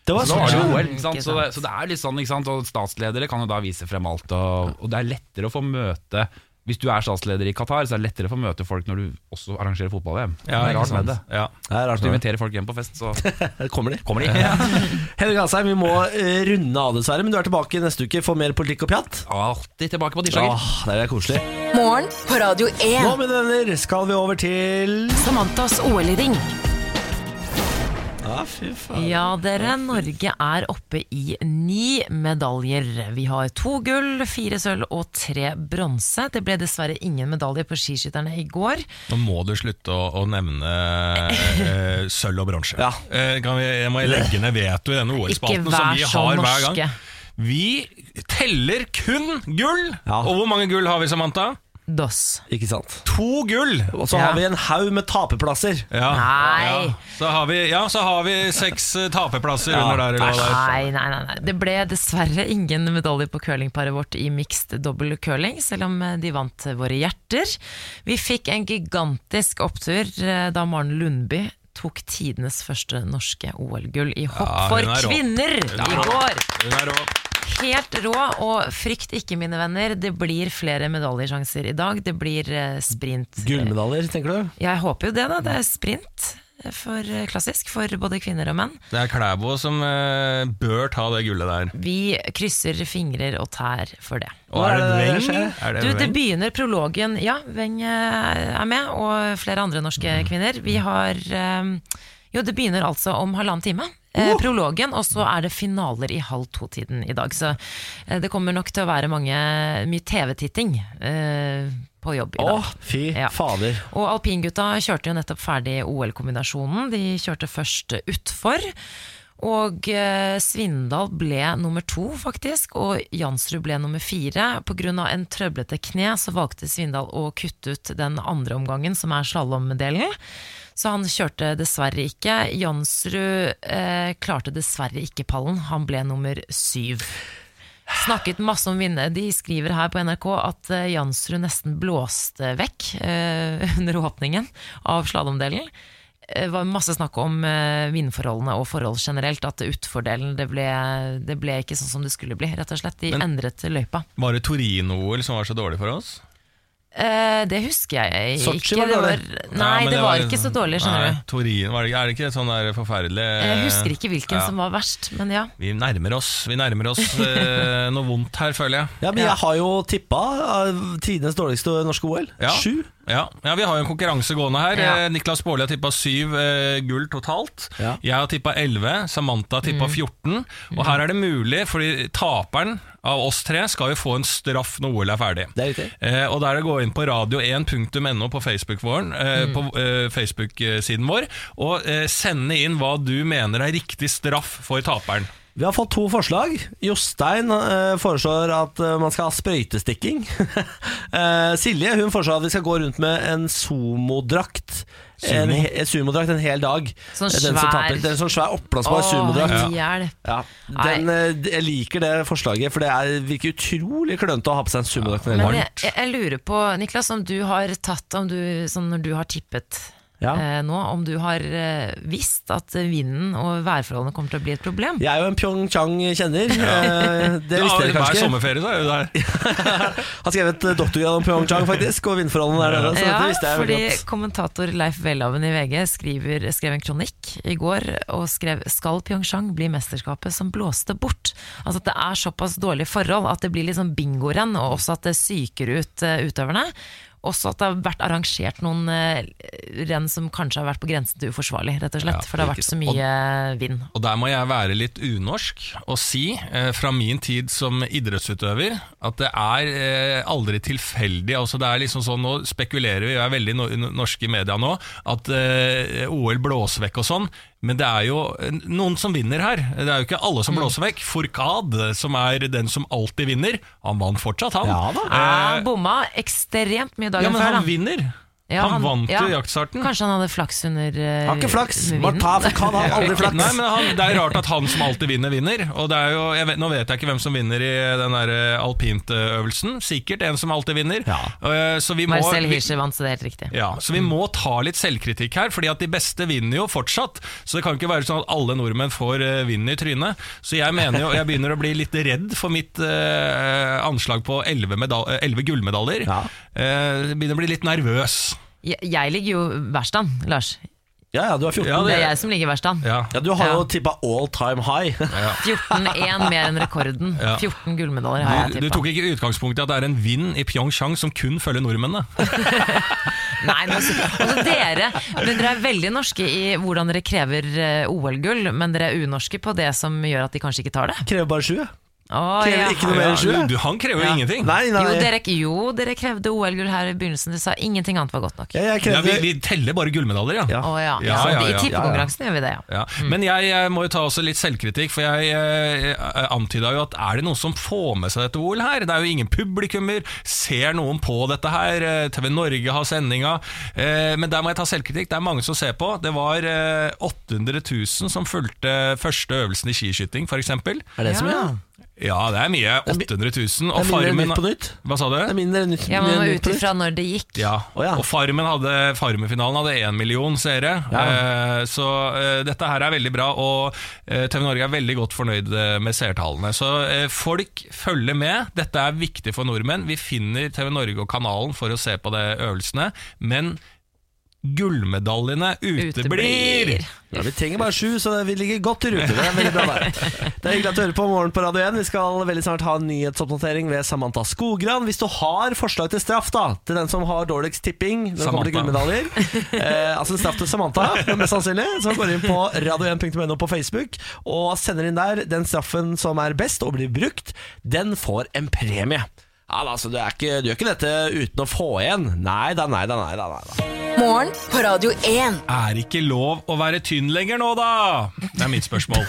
S2: Det var
S5: Så, da var det
S2: sånn.
S5: jo OL,
S3: Ikke
S5: ikke sant? Så, det, så det er litt sånn, ikke sant? Og statsledere kan jo da vise frem alt, og, og det er lettere å få møte Hvis du er statsleder i Qatar, så er det lettere for å møte folk når du også arrangerer fotball-VM.
S1: Ja,
S5: det er
S1: ikke
S5: rart
S1: sant?
S5: med det.
S1: Ja.
S2: Det er rart
S5: Hvis du inviterer folk hjem på fest, så
S2: Der Kommer de?
S5: kommer de. Ja.
S2: Henrik Asheim, vi må eh, runde av, dessverre. Men du er tilbake neste uke for mer politikk og pjatt.
S5: Alltid tilbake på tirsdager.
S2: Åh, det er koselig.
S4: Morgen på Radio
S2: Nå,
S4: 1.
S2: mine venner, skal vi over til
S3: Samantas OL-ring.
S2: Ja, fy faen.
S3: Ja, dere. Norge er oppe i ni medaljer. Vi har to gull, fire sølv og tre bronse. Det ble dessverre ingen medaljer på skiskytterne i går.
S1: Nå må du slutte å, å nevne eh, sølv og bronse.
S2: Ja.
S1: Eh, kan vi, jeg må legge ned veto i denne OL-spalten
S3: Ikke
S1: som
S3: vær
S1: vi
S3: så
S1: har hver
S3: norske.
S1: gang. Vi teller kun gull!
S2: Ja.
S1: Og hvor mange gull har vi, Samantha?
S3: Doss.
S2: Ikke sant.
S1: To gull!
S2: Og så
S3: Ja.
S2: har vi en haug med taperplasser.
S1: Ja.
S3: Nei.
S1: Ja. Så har vi, ja, så har vi seks eh, taperplasser
S2: Ja,
S1: under der. Eller hva det er.
S3: Nei, nei, nei, nei. Det ble dessverre ingen medaljer på curlingparet vårt i mixed dobbel curling, selv om eh, de vant våre hjerter. Vi fikk en gigantisk opptur eh, da Maren Lundby tok tidenes første norske OL-gull i hopp
S1: Ja, hun er
S3: for
S1: rå.
S3: kvinner
S1: Hun er
S3: i
S1: rå.
S3: går.
S1: Hun er rå.
S3: Helt rå, og frykt ikke, mine venner. Det blir flere medaljesjanser i dag. Det blir eh, sprint.
S2: Gullmedaljer, tenker du?
S3: Jeg håper jo det, da. Det er sprint for eh, klassisk for både kvinner og menn.
S1: Det er Klæbo som eh, bør ta det gullet der.
S3: Vi krysser fingrer og tær for det.
S1: Og er det
S2: Hva er det
S1: Weng?
S2: der
S1: Er det
S3: Du, det
S1: Weng?
S3: begynner prologen. Ja, Weng eh, er med, og flere andre norske
S1: Mhm.
S3: kvinner. Vi har eh, Jo, det begynner altså om halvannen time. eh, Prologen, og så er det finaler i halv to-tiden i dag. Så eh, det kommer nok til å være mange, mye TV-titting eh, på jobb i dag.
S2: Å, fy
S3: Ja.
S2: fader.
S3: Og alpingutta kjørte jo nettopp ferdig OL-kombinasjonen. De kjørte først utfor. Og eh, Svindal ble nummer to, faktisk, og Jansrud ble nummer fire. Pga. en trøblete kne så valgte Svindal å kutte ut den andre omgangen, som er slalåmdelen. Så han kjørte dessverre ikke. Jansrud eh, klarte dessverre ikke pallen. Han ble nummer syv. Snakket masse om vinne. De skriver her på NRK at eh, Jansrud nesten blåste vekk eh, under åpningen av slalåmdelen. Det var masse snakk om eh, vindforholdene og forhold generelt. At utfordelen det ble, det ble ikke sånn som det skulle bli, rett og slett. De
S1: Men-
S3: endret løypa.
S1: Var det Torino-OL som var så dårlig for oss?
S3: Eh, det husker jeg ikke.
S2: Sotsji var
S3: Det
S2: dårlig.
S3: Nei,
S1: Ja, men liksom-
S3: det, var ikke så dårlig, skjønner
S1: nei,
S3: du.
S1: Torino, var det, ikke- er det ikke sånn der forferdelig
S3: Jeg husker ikke hvilken
S1: ja.
S3: som var verst, men ja.
S1: Vi nærmer oss, vi nærmer oss eh, noe vondt her, føler jeg.
S2: Ja, men jeg har jo tippa eh, tidenes dårligste norske OL.
S1: Ja.
S2: Sju.
S1: Ja, ja Vi har jo en konkurranse gående her.
S3: Ja.
S1: Eh, Niklas Baarli har tippa syv eh, gull totalt.
S2: Ja.
S1: Jeg har tippa elleve. Samantha har
S3: Mm.
S1: tippa 14. Og her er det mulig, fordi taperen av oss tre skal jo få en straff når OL er ferdig.
S2: Det er riktig.
S1: Eh, og der er det gå inn på radio1.no på Facebook våren, eh,
S2: Mm.
S1: På eh, Facebook-siden vår og eh, sende inn hva du mener er riktig straff for taperen.
S2: Vi har fått to forslag. Jostein eh, foreslår at eh, man skal ha sprøytestikking. Eh, Silje hun foreslår at vi skal gå rundt med en sumodrakt. En,
S1: Sumo?
S2: he- en sumodrakt en hel dag.
S3: Sånn
S2: Eh, den som
S3: svær-
S2: taper- Den sånn svær oppblåsbar sumodrakt.
S3: Åh, hjelp.
S2: Ja, den, eh, jeg liker det forslaget, for det er, virker utrolig klønete å ha på seg en sumodrakt. en hel
S3: Men
S2: dag.
S3: jeg, jeg, jeg lurer på, Niklas, om du har tatt om du, sånn Når du har tippet
S2: Ja.
S3: eh, nå, om du har eh, visst at vinden og værforholdene kommer til å bli et problem?
S2: Jeg er jo en Pyeongchang-kjenner. eh, Det visste dere
S1: ja, Hver
S2: kanskje.
S1: sommerferie så er du der.
S2: Har skrevet eh, doktorgrad om Pyeongchang, faktisk, og sånn vindforholdene der nede. Så dette visste jeg
S3: fordi
S2: veldig godt.
S3: kommentator Leif Welhaven i VG skriver, skrev en kronikk i går og skrev 'Skal Pyeongchang bli mesterskapet som blåste bort?' Altså at det er såpass dårlige forhold at det blir liksom bingorenn, og også at det psyker ut eh, utøverne. Også at det har vært arrangert noen eh, renn som kanskje har vært på grensen til uforsvarlig, rett og slett. for det har vært så mye vind.
S1: Og der må jeg være litt unorsk og si, eh, fra min tid som idrettsutøver, at det er eh, aldri tilfeldig. Altså, det er liksom sånn, nå spekulerer vi, og er veldig no norske i media nå, at eh, OL blåser vekk og sånn. Men det er jo eh, noen som vinner her. Det er jo ikke alle som
S2: Mm.
S1: blåser vekk. Fourcade, som er den som alltid vinner, han vant fortsatt, han.
S2: Ja da.
S3: Han bomma ekstremt
S1: Eh,
S3: mye
S1: Ja,
S3: dagen
S1: men han
S3: før, da.
S1: vinner.
S3: Ja,
S1: han, vant jo jaktstarten.
S3: Kanskje han hadde flaks under uh,
S2: Har ikke flaks! Martav Khan har aldri flaks.
S1: Nei, men han, Det er rart at han som alltid vinner, vinner. Og det er jo, jeg vet, Nå vet jeg ikke hvem som vinner i den der eh, alpintøvelsen. Sikkert en som alltid vinner. Eh, Så vi må,
S3: Marcel Hirscher vant, så det er helt riktig.
S1: ja, så vi må ta litt selvkritikk her, fordi at de beste vinner jo fortsatt. Så det kan ikke være sånn at alle nordmenn får eh, vinn i trynet. Så jeg mener jo, jeg begynner å bli litt redd for mitt eh, anslag på 11, medal 11 gullmedaljer.
S2: Ja.
S1: Eh, begynner å bli litt nervøs.
S3: Jeg, jeg ligger jo verst an, Lars.
S2: Ja, ja, du er 14.
S1: Ja,
S2: Ja,
S3: Det er jeg som ligger verst an.
S1: Ja.
S2: du har
S3: Ja.
S2: jo tippa all time high.
S3: 14-1 mer enn rekorden.
S1: Ja.
S3: 14 gullmedaljer har
S1: Du,
S3: jeg
S1: du
S3: tippa.
S1: tok ikke utgangspunkt i at det er en vind i Pyeongchang som kun følger nordmennene.
S3: Nei, men altså, altså dere, men dere er veldig norske i hvordan dere krever eh, OL-gull, men dere er unorske på det som gjør at de kanskje ikke tar det.
S2: Krever bare sju, jeg.
S3: Å,
S2: Krever
S3: ja.
S2: ikke noe mer enn sju.
S1: Ja,
S2: jeg.
S1: du, du, han krever jo ingenting.
S2: Nei, nei.
S3: Jo dere, jo, dere krevde OL-gull her i begynnelsen. Dere sa ingenting annet var godt nok.
S2: Ja,
S1: Ja,
S2: jeg krevde
S1: vi, vi teller bare gullmedaljer, ja.
S2: Ja.
S1: ja.
S3: Å, ja.
S1: Ja, ja, ja.
S3: I tippekonkurransen gjør vi det, ja.
S1: Men jeg, eh, må jo ta også litt selvkritikk, for jeg eh, eh, antyda jo at er det noen som får med seg dette OL her? Det er jo ingen publikummer, ser noen på dette her? eh, TV Norge har sendinga. Eh, Men der må jeg ta selvkritikk, det er mange som ser på. Det var eh, 800 000 som fulgte første øvelsen i skiskyting, f.eks.
S2: Er det så mye?
S3: Ja.
S1: Ja, det er mye. 800 000. Og
S2: Det er mindre enn
S1: Farmen
S2: Nytt på nytt.
S1: Hva sa du?
S2: Det er mindre enn Nytt,
S3: Ja, Man må
S2: nytt
S3: ut
S2: på nytt.
S3: ifra når det gikk.
S1: Ja.
S2: Å, ja.
S1: Og Farmen hadde Farmen-finalen hadde én million seere. Eh, så eh, dette her er veldig bra, og eh, TV Norge er veldig godt fornøyd eh, med seertallene. Så eh, folk følger med. Dette er viktig for nordmenn. Vi finner TV Norge og kanalen for å se på de øvelsene, men gullmedaljene uteblir!
S3: Uteblir.
S2: Ja, Vi trenger bare sju, så vi ligger godt i rute. Det er veldig bra der. Det er hyggelig at du hører på Morgen på Radio 1. Vi skal veldig snart ha en nyhetsoppdatering ved Samantha Skogran. Hvis du har forslag til straff da, til den som har dårligst tipping når det kommer til
S1: Samantha.
S2: gullmedaljer, eh, altså en straff til Samantha, mest sannsynlig, så går du inn på radio1.no på Facebook og sender inn der den straffen som er best og blir brukt, den får en premie. Ja, da, altså, du, er ikke, du gjør ikke dette uten å få igjen. Nei da, nei da, nei da. Nei, da.
S4: Morgen på Radio 1.
S1: Er ikke lov å være tynn lenger nå, da? Det er mitt spørsmål.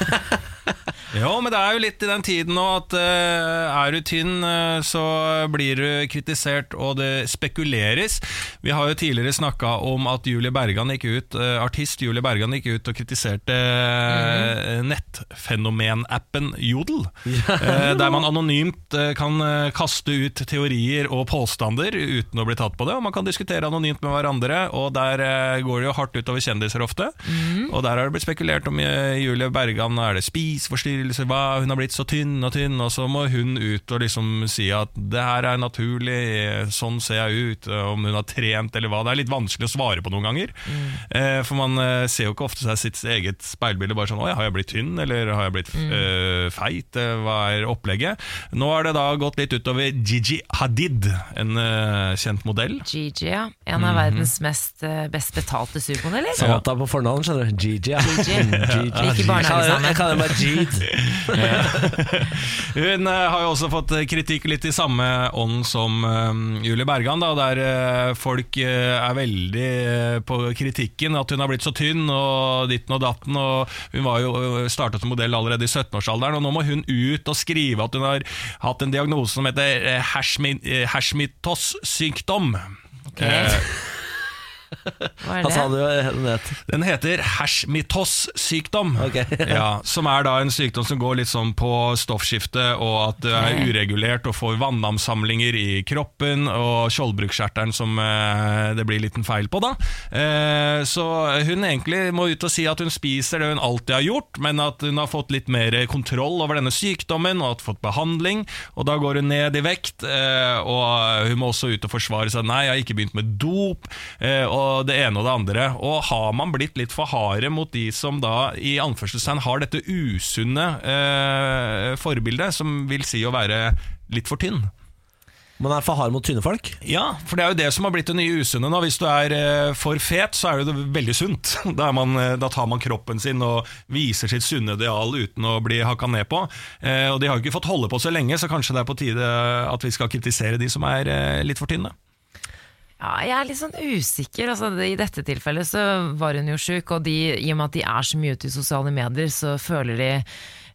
S1: Jo, men det er jo litt i den tiden nå at eh, er du tynn, eh, så blir du kritisert, og det spekuleres. Vi har jo tidligere snakka om at Julie Bergan gikk ut, eh, artist Julie Bergan gikk ut og kritiserte eh, nettfenomenappen Jodel. eh, der man anonymt eh, kan eh, kaste ut teorier og påstander uten å bli tatt på det. Og man kan diskutere anonymt med hverandre, og der eh, går det jo hardt utover kjendiser ofte. Og der har det blitt spekulert om eh, Julie Bergan, er det spiseforstyrrelser, hva, hun har blitt så tynn og tynn, og så må hun ut og liksom si at det her er naturlig, eh, sånn ser jeg ut, eh, om hun har trent eller hva. Det er litt vanskelig å svare på noen ganger. Eh, for man eh, ser jo ikke ofte seg sitt eget speilbilde bare sånn Å ja, har jeg blitt tynn, eller har jeg blitt eh, feit? Eh, Hva er opplegget? Nå har det da gått litt utover Gigi Hadid, en eh, kjent modell.
S3: Gigi, ja. En av verdens mest, eh, best betalte supermodeller.
S2: Samantha på fornavn, skjønner du. Gigi, ja. Mm,
S3: Gigi.
S2: Gigi.
S3: Vi gikk i barnehage
S2: Jeg kaller-
S3: sammen.
S2: Jeg kaller meg Jeed.
S1: Hun eh, har jo også fått eh, kritikk litt i samme ånd som eh, Julie Bergan, da, der eh, folk eh, er veldig eh, på kritikken at hun har blitt så tynn og ditten og datten. Og hun var jo eh, startet som modell allerede i 17-årsalderen, og nå må hun ut og skrive at hun har hatt en diagnose som heter eh, Hashmi- eh, Hashmitos-sykdom.
S3: Ok.
S1: Eh,
S3: Hva er
S2: Han sa
S3: det?
S2: det jo den het.
S1: Den heter Hashmitos-sykdom.
S2: Ok.
S1: ja, som er da en sykdom som går litt sånn på stoffskiftet, og at det er uregulert og får vannansamlinger i kroppen, og skjoldbruskkjertelen som eh, det blir liten feil på, da. Eh, så hun egentlig må ut og si at hun spiser det hun alltid har gjort, men at hun har fått litt mer kontroll over denne sykdommen, og har fått behandling, og da går hun ned i vekt, eh, og hun må også ut og forsvare seg. Nei, jeg har ikke begynt med dop, eh, og det ene og det andre. Og har man blitt litt for harde mot de som da i anførselstegn har dette usunne eh, forbildet, som vil si å være litt for tynn?
S2: Man er for hard mot tynne folk.
S1: Ja, for det er jo det som har blitt det nye usunne nå. Hvis du er eh, for fet, så er jo det veldig sunt. Da, er man, eh, da tar man kroppen sin og viser sitt sunne ideal uten å bli hakka ned på. Eh, og de har jo ikke fått holde på så lenge, så kanskje det er på tide at vi skal kritisere de som er eh, litt for tynne.
S3: Ja, jeg er litt sånn usikker. Altså, det- I dette tilfellet så var hun jo sjuk, og de, i og med at de er så mye ute i sosiale medier, så føler de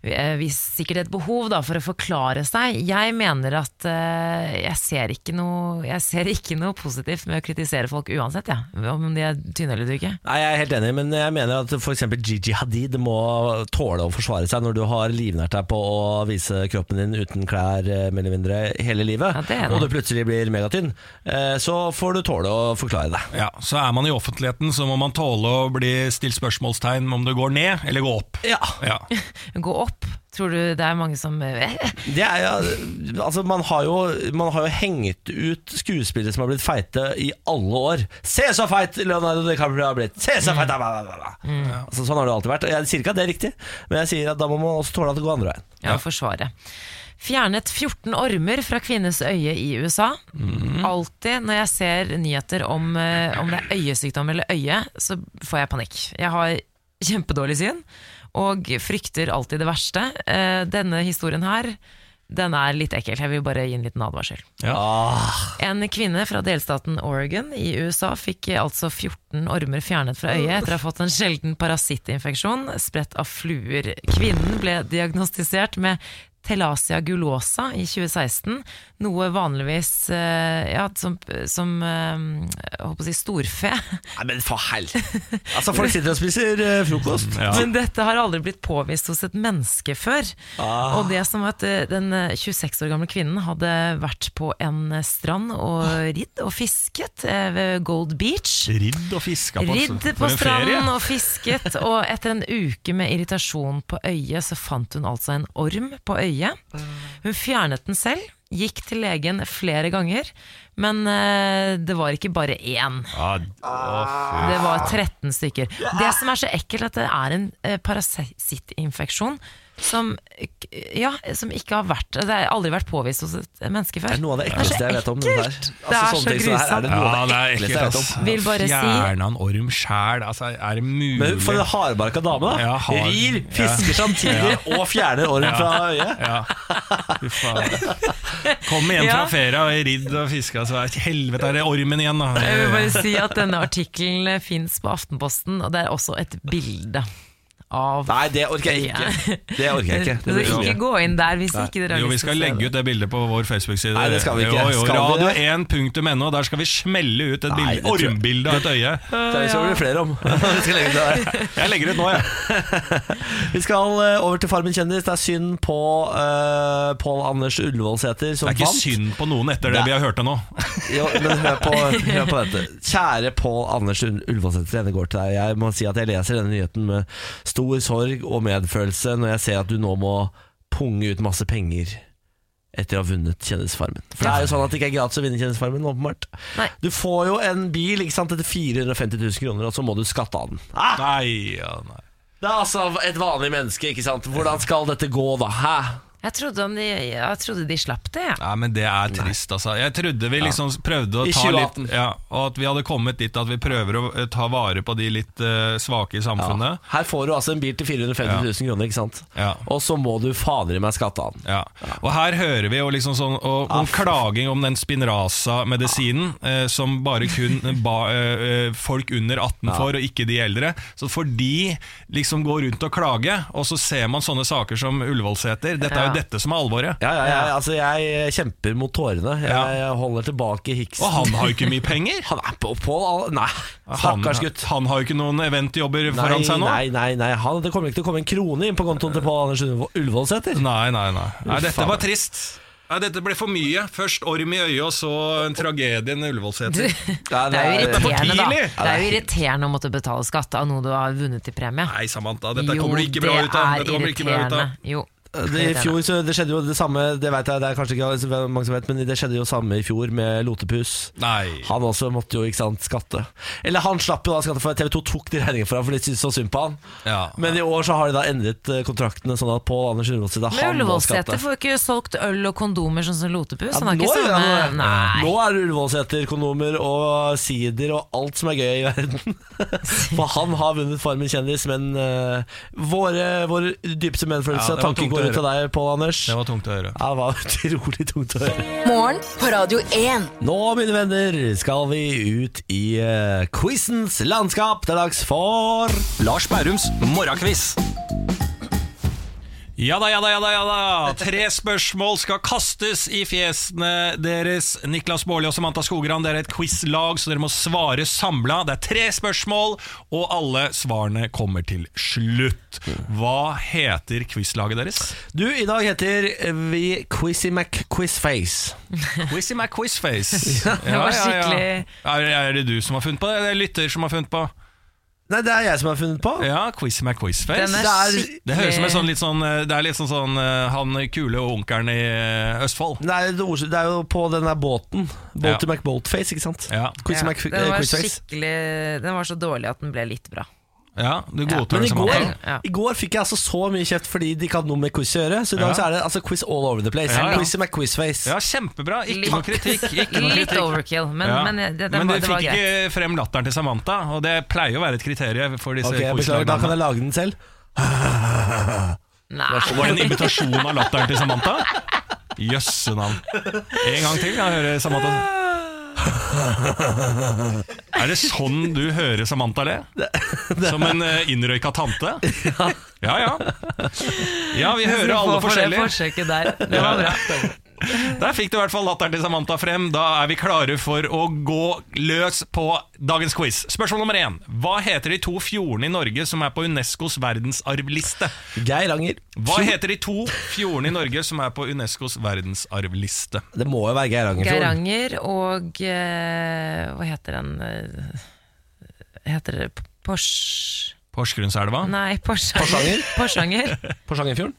S3: eh, vis- sikkert et behov da, for å forklare seg. Jeg mener at eh, jeg ser ikke noe, jeg ser ikke noe positivt med å kritisere folk uansett, ja. om de er tynne eller tykke.
S2: Nei, Jeg er helt enig, men jeg mener at f.eks. Gigi Hadid må tåle å forsvare seg når du har livnært deg på å vise kroppen din uten klær eh, mer eller mindre hele livet,
S3: Ja, det er det.
S2: og du plutselig blir megatynn. eh, Så får du tåle å forklare deg.
S1: Ja, så er man i offentligheten, så må man tåle å bli stilt spørsmålstegn om det går ned eller går opp.
S2: Ja,
S1: Ja.
S3: Gå opp. Tror du det er mange som eh,
S2: det er, ja altså man har, jo, man har jo hengt ut skuespillere som har blitt feite i alle år. Se så feit Leonardo DiCaprio har blitt! Se så feit! bla, bla, bla, bla.
S3: Mm.
S2: Altså, sånn har det alltid vært. Jeg sier ikke at det er riktig, men jeg sier at da må man også tåle at det går andre veien.
S3: ja, forsvare. Fjernet 14 ormer fra kvinnes øye i USA. Alltid når jeg ser nyheter om, eh, om det er øyesykdom eller øye, så får jeg panikk. Jeg har kjempedårlig syn og frykter alltid det verste. Eh, Denne historien her, den er litt ekkel. Jeg vil bare gi en liten advarsel.
S2: Ah,
S3: En kvinne fra delstaten Oregon i USA fikk altså 14 ormer fjernet fra øyet etter å ha fått en sjelden parasittinfeksjon spredt av fluer. Kvinnen ble diagnostisert med Telasia gulosa i 2016, noe vanligvis eh, ja, som, som eh, jeg holdt på å si storfe.
S2: nei, men for helvete! Altså, folk sitter og spiser eh, frokost.
S3: Men dette har aldri blitt påvist hos et menneske før. Og det som var at eh, den eh, 26 år gamle kvinnen hadde vært på en eh, strand og ridd og fisket eh, ved Gold Beach.
S1: Ridd og fiska på,
S3: Ridd
S1: for
S3: på
S1: en ferie.
S3: stranden og fisket, og etter en uke med irritasjon på øyet, så fant hun altså en orm på øyet. Hun fjernet den selv, gikk til legen flere ganger, men eh, det var ikke bare én. Det var
S1: Ah.
S3: 13 stykker. Det som er så ekkelt, er at det er en eh, parasittinfeksjon som, k- ja, som ikke har vært Det har aldri vært påvist hos et menneske før.
S2: Det er noe av det ekleste jeg vet om. Den der. Altså,
S3: Det er
S2: sånne
S3: så
S2: ting som det her, er det noe
S1: Ja, det
S2: av det
S1: er
S2: ekleste
S1: ekkelt,
S2: jeg vet
S1: ass.
S2: om.
S3: Vil bare si-
S1: Fjerna en orm sjæl, altså, er det mulig?
S2: Men for en hardbarka dame, da.
S1: Ja, hard.
S2: Rir, fisker samtidig og fjerner orm fra øyet.
S1: Ja. Fy faen. Kom igjen fra
S3: Ja.
S1: feria og ridd og fiska, så er helvete er det ormen igjen, da.
S3: Jeg vil bare si at denne artikkelen fins på Aftenposten, og det er også et bilde av
S2: Nei, det orker jeg ikke. Det orker jeg ikke. Det
S3: Så
S2: blir for
S3: ikke
S2: mye.
S3: gå inn der hvis ikke dere har
S1: Jo, vi
S3: lyst
S1: skal
S3: til å se
S1: legge
S3: det.
S1: ut det bildet på vår Facebook-side.
S2: Nei, det skal vi ikke.
S1: Jo, jo,
S2: Skal vi det?
S1: Radio1.no, der skal vi smelle ut et
S2: Nei,
S1: bilde-
S2: det tror jeg-
S1: ormbilde av et øye.
S2: Det skal bli flere om. Vi skal, legge ut det der.
S1: Jeg legger ut nå, jeg.
S2: vi skal eh, over til Farmen kjendis. Det er synd på uh, Pål Anders Ullevålsæter som
S1: Det er ikke
S2: vant.
S1: synd på noen etter det
S2: Det-
S1: vi har hørt det nå.
S2: Jo, men hør på, hør på dette. Kjære Pål Anders Ullevålsæter, denne går til deg. Jeg må si at jeg leser denne nyheten med stor sorg og medfølelse når jeg ser at du nå må punge ut masse penger etter å ha vunnet Kjendisfarmen. For det er jo sånn at det ikke er gratis å vinne Kjendisfarmen, åpenbart.
S3: Nei.
S2: Du får jo en bil ikke sant, etter 450 000 kroner, og så må du skatte av den. Ah!
S1: Nei, ja, nei.
S2: Det er altså et vanlig menneske, ikke sant? Hvordan skal dette gå, da? Hæ?
S3: Jeg trodde, om de, jeg trodde de slapp det. jeg.
S1: Nei, men det er trist, altså. Jeg trodde vi liksom prøvde å
S2: I
S1: ta litt
S2: 2018.
S1: ja, Og at vi hadde kommet dit at vi prøver å eh, ta vare på de litt eh, svake i samfunnet.
S2: Her får du altså en bil til 450 000 kroner, ikke sant?
S1: Ja.
S2: Og så må du fader i meg skatte av den.
S1: Ja. Og her hører vi jo liksom sånn og, om klaging om den Spinraza-medisinen, eh, som bare kun ba, eh, eh, folk under 18 får, og ikke de eldre. Så for de liksom går rundt og klager, og så ser man sånne saker som Ullevålseter. Dette er
S3: Ja.
S1: jo dette som er alvoret.
S2: Ja, ja, ja, altså jeg kjemper mot tårene. Jeg,
S1: Ja.
S2: jeg holder tilbake hiksen.
S1: Og han har jo ikke mye penger!
S2: Han er på Pål Al- Nei,
S1: Han,
S2: stakkars gutt.
S1: han har jo ikke noen eventjobber
S2: Nei,
S1: foran seg nå.
S2: nei, nei, nei. Han, det kommer ikke til å komme en krone inn på kontoen til Pål Anders Ullevål- Ullevålsæter.
S1: Nei, nei, nei. nei dette
S2: faen.
S1: var trist. Nei, dette ble for mye. Først orm i øyet, og så en tragedie i Ullevålseter.
S2: Nei,
S3: Det er jo
S1: for
S3: irriterende, da.
S1: tidlig.
S3: Det er jo irriterende å måtte betale skatt av noe du har vunnet i premie.
S1: Nei, Samantha, dette kommer du ikke bra ut av. Dette
S3: det er
S1: kommer du ikke bra ut av.
S3: irriterende. Jo.
S2: Det, I fjor så det skjedde jo det samme, det vet jeg, det er kanskje ikke så mange som vet, men det skjedde jo samme i fjor med Lotepus.
S1: Nei.
S2: Han også måtte jo ikke sant, skatte. Eller han slapp jo da skatte, for TV 2 tok de regningene for ham, for de syntes så synd på han.
S1: Ja.
S2: Men i år så har de da endret eh, kontraktene, sånn at Pål Anders Ullevål da
S3: Men
S2: han må
S3: Ullevålsæter
S2: skatte.
S3: får jo ikke solgt øl og kondomer sånn som Lotepus.
S2: Ja,
S3: Han har
S2: nå
S3: ikke
S2: er det-
S3: samme Nei.
S2: Nå er det Ullevålseter, kondomer og sider og alt som er gøy i verden. For han har vunnet Farmen kjendis, men eh, våre, vår dypeste
S1: Ja,
S2: medfølelse
S1: det var
S2: tanken
S1: tungt å
S2: går ut til deg, Pål Anders.
S1: Det var tungt å høre.
S2: Ja, det var utrolig tungt å høre.
S4: Morgen på Radio 1.
S2: Nå, mine venner, skal vi ut i uh, quizens landskap. Det er dags for
S1: Lars Bærums morgenkviss. Ja da, ja da, ja da, ja da. Tre spørsmål skal kastes i fjesene deres. Niklas Baarli og Samantha Skogran, dere er et quizlag, så dere må svare samla. Det er tre spørsmål, og alle svarene kommer til slutt. Hva heter quizlaget deres?
S2: Du, i dag heter vi Quizzy Mac Quizface.
S1: Quizzy Mac Quizface.
S3: var skikkelig-
S1: Er, er det du som har funnet på det, eller er det lytter som har funnet på?
S2: Nei, det er jeg som har funnet på.
S1: Ja, Quizzy Mac Quizface.
S3: Den er
S2: Det er-
S3: skikkelig
S1: Det høres ut som en sånn litt sånn eh, Det er litt sånn sånn eh, han kule og onkelen i eh, Østfold.
S2: Det er, jo et ord, det er jo på den der båten. Boaty
S1: Ja.
S2: McBoatface, ikke sant?
S1: Ja.
S2: Quizzy
S3: Ja,
S2: Mac eh,
S3: den var
S2: Quizface.
S3: skikkelig Den var så dårlig at den ble litt bra.
S1: Ja, du godtar
S2: Men
S1: det
S2: i
S1: som
S2: går,
S1: annet.
S3: Ja.
S2: i går fikk jeg altså så mye kjeft fordi de ikke hadde noe med quiz å gjøre. Så i dag
S1: Ja.
S2: så er det altså quiz all over the place.
S1: Ja, ja.
S2: Quizzy McQuizface.
S1: Ja, kjempebra. Ikke
S3: Litt-
S1: noe kritikk. Ikke noe
S3: Litt
S1: kritikk.
S3: overkill, men,
S1: Ja.
S3: men, det, den
S1: Men
S3: var,
S1: du
S3: det var
S1: fikk
S3: greit.
S1: ikke frem latteren til Samantha, og det pleier jo å være et kriterium for disse
S2: Ok, jeg beklager, da
S1: quizlagene.
S2: kan jeg lage den selv.
S3: Nei.
S1: Var det en imitasjon av latteren til Samantha? Jøsse navn. En gang til, kan jeg høre Samantha. Er det sånn du hører Samantha le? Som en eh, innrøyka tante? Ja ja. Ja, vi hører alle
S3: Hvorfor det
S1: forskjellige.
S3: forsøket der. Det var bra.
S1: Der fikk du i hvert fall latteren til Samantha frem. Da er vi klare for å gå løs på dagens quiz. Spørsmål nummer én. Hva heter de to fjordene i Norge som er på Unescos verdensarvliste?
S2: Geiranger.
S1: Hva heter de to fjordene i Norge som er på Unescos verdensarvliste?
S2: Det må jo være Geirangerfjorden.
S3: Geiranger og eh, Hva heter den eh, Heter det P- Pors...
S1: Porsgrunnselva?
S3: Nei, Porsanger.
S2: Porsanger?
S3: Porsanger.
S2: Porsangerfjorden?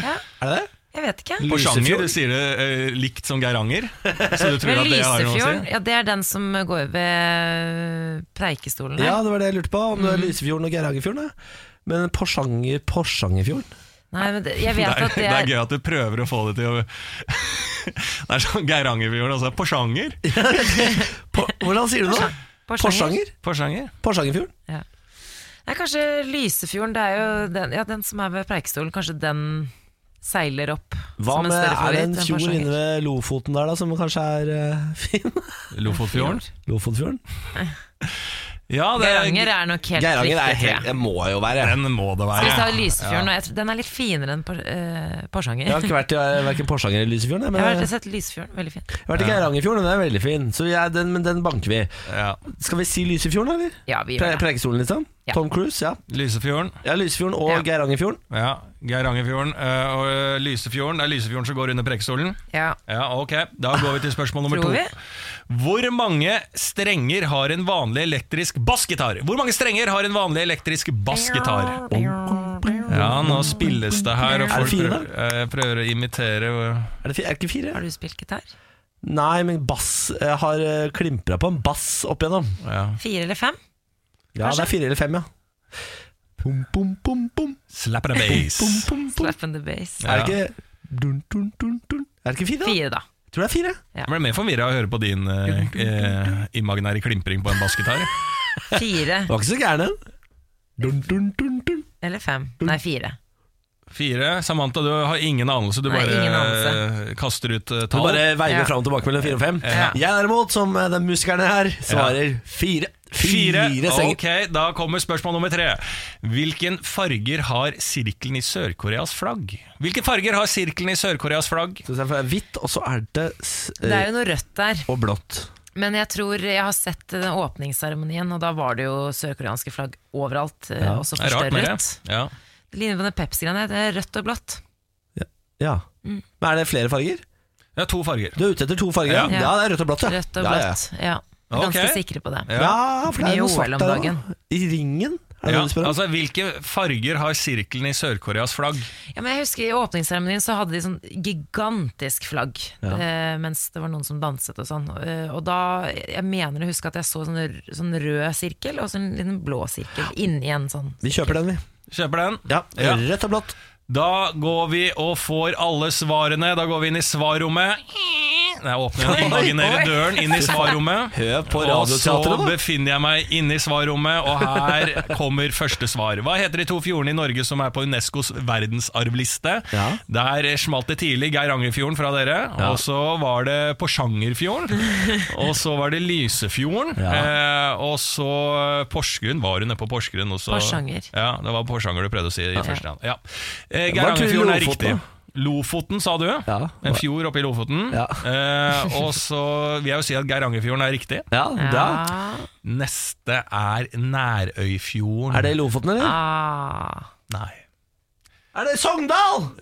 S3: Ja,
S2: Er det det?
S3: jeg vet ikke.
S1: Porsanger,
S2: Lysefjord.
S1: du sier det eh, likt som Geiranger. Så du tror
S3: Men
S1: at det har noe å
S3: Lysefjorden,
S1: si?
S3: ja, det er den som går ved Preikestolen her.
S2: Ja, det var det jeg lurte på. Om det
S3: Mm.
S2: er Lysefjorden og Geirangerfjorden. ja. Men Porsanger, Porsangerfjorden
S3: Nei, men det, jeg
S1: Det
S3: vet
S1: er,
S3: at
S1: det
S3: det
S1: er
S3: er
S1: gøy at du prøver å få det til å Det er sånn Geirangerfjorden, altså. Porsanger?
S2: Po- Hvordan sier du det? nå? Porsanger?
S1: Porsanger?
S2: Porsangerfjorden?
S3: Ja. Nei, kanskje Lysefjorden, det er jo den, ja, den som er ved Preikestolen, kanskje den seiler opp
S2: Hva
S3: som en
S2: med
S3: større
S2: er det
S3: favoritt
S2: en
S3: enn
S2: fjord
S3: Porsanger.
S2: inne ved Lofoten der da som kanskje er eh, fin?
S1: Lofotfjorden?
S2: Lofotfjorden?
S1: Ja, det er
S3: Geiranger er nok helt
S2: Geiranger er
S3: riktig, tror
S2: helt
S3: jeg.
S2: Det må jo være.
S1: Den må det
S3: Skal vi ta
S1: være.
S3: Lysefjorden? og Jeg tror, den er litt finere enn Por- eh, Porsanger.
S2: Jeg har ikke vært i verken Porsanger eller Lysefjorden, jeg, men
S3: Jeg
S1: eh,
S3: har
S2: jeg
S3: sett Lysefjorden, veldig fin.
S2: har vært i Geirangerfjorden, og den er veldig fin. Så jeg, den, men den banker vi.
S1: Ja.
S2: Skal vi si Lysefjorden, eller?
S3: Ja, vi
S2: Pre
S3: gjør det.
S2: Preikestolen, liksom?
S3: Ja.
S2: Tom Cruise, ja.
S1: Lysefjorden.
S2: Ja, Lysefjorden og
S3: Ja.
S2: Geirangerfjorden.
S1: Ja, Geirangerfjorden eh, og eh, Lysefjorden. Det er Lysefjorden som går under Preikestolen.
S3: Ja.
S1: Ja, ok. Da går vi til spørsmål nummer
S3: Tror
S1: to.
S3: vi?
S1: Hvor mange strenger har en vanlig elektrisk bassgitar? Hvor mange strenger har en vanlig elektrisk bassgitar? Ja, nå spilles det her, og
S2: Er det
S1: folk
S2: fire,
S1: prøver, eh, prøver å imitere
S2: Er det, fi- er det ikke fire?
S3: Har du spilt gitar?
S2: Nei, men bass Jeg har klimpra på en bass opp igjennom.
S1: ja.
S3: Fire eller fem?
S2: Ja, det er fire eller fem, ja. Pum, pum, pum, pum.
S1: Slap and a bass.
S2: Pum, pum, pum.
S3: Slap in the bass.
S2: Er det ikke dun, dun, dun, dun. Er det ikke fire? da?
S3: Fire, da.
S2: Tror det er fire.
S1: Jeg ble mer forvirra av å høre på din eh, eh, imaginære klimpring på en bassgitar.
S3: Fire
S2: Det var ikke så gæren den. Dun, dun, dun, dun.
S3: eller fem? Nei, fire.
S1: Fire. Samantha, du har ingen anelse. Du
S3: Nei,
S1: bare
S3: ingen anelse.
S1: eh, kaster ut eh,
S2: Du
S1: tall.
S2: bare veier
S3: Ja.
S2: fram og tilbake mellom fire og fem.
S1: Ja.
S2: Jeg derimot, som eh, den musikerne her, svarer fire.
S1: Fire.
S2: senger.
S1: Ok, da kommer spørsmål nummer tre. Hvilken farger har sirkelen i Sør-Koreas flagg? Hvilken farger har sirkelen i Sør-Koreas flagg?
S2: Så det er hvitt, og så er det, s- eh,
S3: Det er jo noe rødt der,
S2: og blått.
S3: men jeg tror jeg har sett den åpningsseremonien, og da var det jo sørkoreanske flagg overalt, eh, også
S1: Det er rart med det.
S3: forstørret.
S1: Ja.
S3: Det ligner på den Pepsi-greiene, det er rødt og blått.
S2: Ja.
S3: Mm.
S2: Men er det flere farger?
S1: Det er to farger.
S2: Du er ute etter to farger?
S1: Ja.
S2: Ja, ja det er rødt og blått. Ja.
S3: Rødt og
S2: Ja, ja, ja.
S3: blått, ja. Jeg er Ganske
S1: Ok.
S3: sikre på det.
S2: Ja, for det
S3: Mye
S2: er noe
S3: OL
S2: svart
S3: om
S2: der
S3: dagen.
S2: også. I ringen?
S1: Ja,
S2: Er det det du spør om?
S1: altså, hvilke farger har sirkelen i Sør-Koreas flagg?
S3: Ja, men jeg husker I åpningsseremonien så hadde de sånn gigantisk flagg, eh, mens det var noen som danset og sånn. Eh, og da, Jeg mener å huske at jeg så sånn, r- sånn rød sirkel og så en liten blå sirkel inni en sånn.
S2: vi kjøper den, vi.
S1: Kjøper den?
S2: Ja,
S1: Ja.
S2: Rødt og blått.
S1: Da går vi og får alle svarene. Da går vi inn i svarrommet. Nei, jeg åpner den, imaginære døren inn i svarrommet.
S2: Hør på
S1: Og så
S2: Radioteatret, da.
S1: befinner jeg meg inne i svarrommet, og her kommer første svar. Hva heter de to fjordene i Norge som er på UNESCOs verdensarvliste?
S2: Ja.
S1: Der smalt det tidlig Geirangerfjorden fra dere, og så var det Porsangerfjorden, og så var det Lysefjorden, eh, og så Porsgrunn. Var hun nede på Porsgrunn også?
S3: Porsanger.
S1: Ja, det var Porsanger du prøvde å si i første hand. Ja. Eh,
S2: Hva tror du
S1: Geirangerfjorden er
S2: Lofoten,
S1: riktig.
S2: da?
S1: Lofoten, sa du?
S2: Ja.
S1: En fjord oppe i Lofoten.
S2: Ja.
S1: Eh, og så vil jeg jo si at Geirangerfjorden er riktig.
S2: Ja, da.
S1: Neste er Nærøyfjorden.
S2: Er det i Lofoten, eller?
S3: Ah.
S1: Nei.
S2: Er det Sogndal?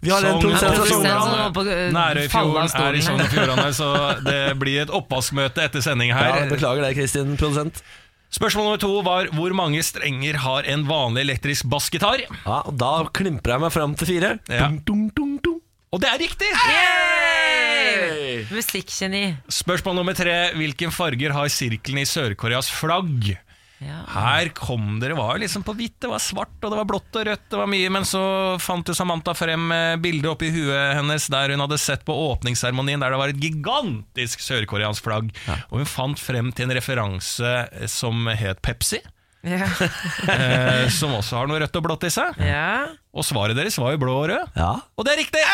S2: Vi har en
S1: Sogn-
S3: Ja,
S2: produsent fra
S1: Produsent
S3: produsent
S1: Sogndal.
S2: Sogndal.
S3: som holdt på å, øh, falle av
S1: Nærøyfjorden
S3: stolen
S1: er i Sogn
S3: her.
S1: og Fjordane, så det blir et oppvaskmøte etter sending
S2: Ja,
S1: her.
S2: beklager det, Kristin, produsent.
S1: Spørsmål nummer to var hvor mange strenger har en vanlig elektrisk bassgitar?
S2: Ja, og Da klimper jeg meg fram til fire.
S1: Ja.
S2: Dum, dum, dum, dum.
S1: Og det er riktig!
S3: Musikkgeni.
S1: Spørsmål nummer tre hvilken farger har sirkelen i Sør-Koreas flagg?
S3: Ja.
S1: Her kom dere, var jo liksom på hvitt, det var svart og det var blått og rødt, det var mye, men så fant jo Samantha frem eh, bildet oppi huet hennes der hun hadde sett på åpningsseremonien der det var et gigantisk sørkoreansk flagg, og hun fant frem til en referanse eh, som het Pepsi,
S3: Ja.
S1: eh, som også har noe rødt og blått i seg,
S3: ja.
S1: og svaret deres var jo blå og rød,
S2: Ja.
S1: og det er riktig!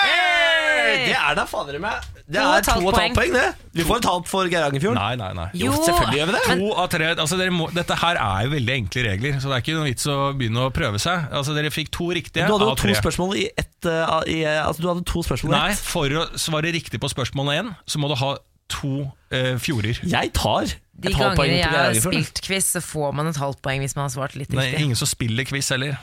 S2: Det er da fader meg Det
S3: To og
S2: er
S3: et
S2: to
S3: halvt
S2: og et
S3: poeng.
S2: halvt poeng, det. Vi får et halvt for Geirangerfjorden.
S1: Nei, nei, nei.
S3: Jo,
S2: selvfølgelig gjør vi det.
S1: To av tre, altså dere må, Dette her er jo veldig enkle regler, så det er ikke noen vits å begynne å prøve seg. Altså Dere fikk to riktige
S2: Du hadde jo
S1: av
S2: to
S1: tre.
S2: spørsmål i ett eh, i, eh, Altså, du hadde to spørsmål i
S1: Nei,
S2: ett.
S1: for å svare riktig på spørsmål én, så må du ha to eh, fjorder.
S2: Jeg tar et
S3: De
S2: halvt poeng
S3: gangene
S2: til
S3: jeg har
S2: Geirangerfjorden.
S3: spilt quiz, så får man et halvt poeng hvis man har svart litt
S1: Nei,
S3: riktig.
S1: ingen som spiller quiz heller.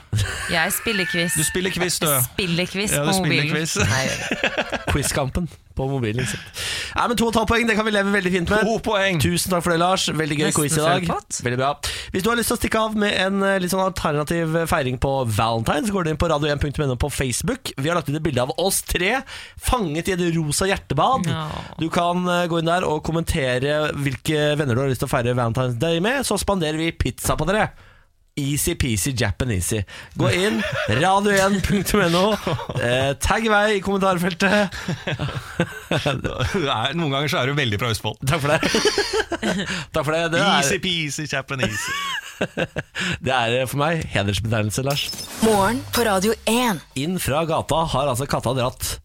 S3: Jeg spiller quiz.
S1: Du spiller quiz, du.
S3: Jeg Spiller quiz
S1: Ja, du
S3: på
S1: spiller
S3: mobilen.
S1: quiz.
S3: Nei, jeg gjør det.
S2: Quizkampen på mobilen. ikke sant? Nei, men To og et halvt poeng, det kan vi leve veldig fint med.
S1: To poeng!
S2: Tusen takk for det, Lars. Veldig gøy
S3: Nesten
S2: quiz i dag.
S3: full pott.
S2: Veldig bra Hvis du har lyst til å stikke av med en eh, litt sånn alternativ eh, feiring på valentine, så går du inn på radio1.no på Facebook. Vi har lagt ut et bilde av oss tre fanget i et rosa hjertebad.
S3: Ja.
S2: Du kan eh, gå inn der og kommentere hvilke venner du har lyst til å feire Valentine's Day med. Så spanderer vi pizza på dere. Easy-peasy Japanesey. Gå inn, radio1.no. Eh, tagg i vei i kommentarfeltet.
S1: Det er- Noen ganger så er du veldig fra Østfold.
S2: Takk for det. Takk for det. Det er,
S1: Easy-peasy, Japanese.
S2: det er eh, for meg hedersbetegnelse, Lars.
S4: Morgen på Radio 1.
S2: Inn fra gata har altså katta dratt.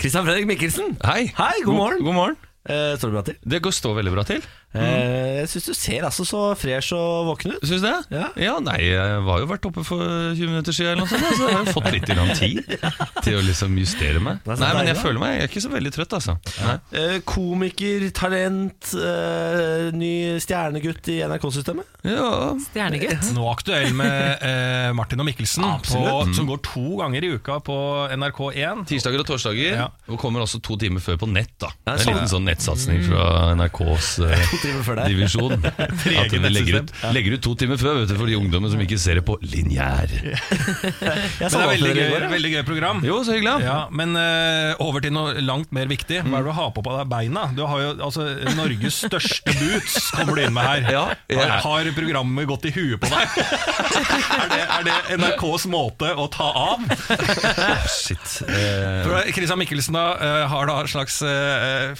S2: Christian Fredrik Mikkelsen.
S6: Hei.
S2: Hei, god morgen.
S6: God morgen.
S2: Eh, står det bra til?
S6: Det går stå veldig bra til.
S1: Mm.
S2: Eh, jeg syns du ser altså så fresh og våken ut.
S6: Syns du det?
S2: Ja.
S6: Nei, jeg var jo vært oppe for 20 minutter siden, eller noe sånt, så jeg har jo fått litt grann tid til å liksom justere meg.
S2: er så
S6: Nei, men jeg
S2: deilig, da.
S6: føler meg Jeg er ikke så veldig trøtt, altså. Nei.
S2: Eh, komiker, talent, eh, ny stjernegutt i NRK-systemet.
S6: Ja.
S3: Stjernegutt.
S1: Nå aktuell med eh, Martin og Mikkelsen, på,
S2: Mm.
S1: som går to ganger i uka på NRK1.
S6: Tirsdager og torsdager,
S1: Ja.
S6: og kommer også to timer før på nett. da Det er En
S2: sånn.
S6: liten sånn nettsatsing
S2: Mm.
S6: fra NRKs eh,
S2: To timer før deg.
S6: divisjon. At de legger ut, legger ut to timer før vet du, for de ungdommer som ikke ser det på linjær.
S2: Jeg
S1: Men det er veldig
S2: sa det til dere i
S1: gøy,
S2: går, ja.
S1: veldig gøy program.
S6: Jo, så hyggelig. Mm.
S1: Ja, Men eh, over til noe langt mer viktig. Hva er det du har på på deg? Beina? Du har jo altså Norges største boots, kommer du inn med her.
S6: Ja, jeg-
S1: har, har programmet gått i huet på deg? er, det, er det NRKs måte å ta av?
S6: Shit. Eh,
S1: For Christian Mikkelsen da, eh, har da en slags uh,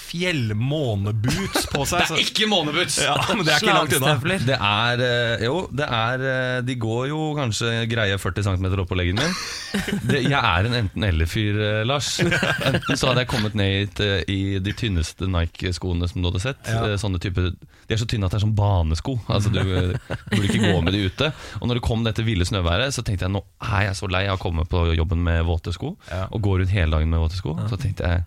S1: fjellmåneboots på seg. så-
S6: ikke månebuds!
S1: ja, men det er ikke langt unna.
S3: Slagstøvler.
S6: Det er eh, Jo, det er eh, De går jo kanskje greie 40 cm opp på leggen min. Det, jeg er en enten-eller-fyr, eh, Lars. Enten så hadde jeg kommet ned hit eh, i de tynneste Nike-skoene som du hadde sett. Eh, Sånne type, De er så tynne at det er sånn banesko. Altså Du eh, burde ikke gå med de ute. Og når det kom dette ville snøværet, så tenkte jeg nå er jeg så lei av å komme på jobben med våte sko. Og gå rundt hele dagen med våte sko. Så tenkte jeg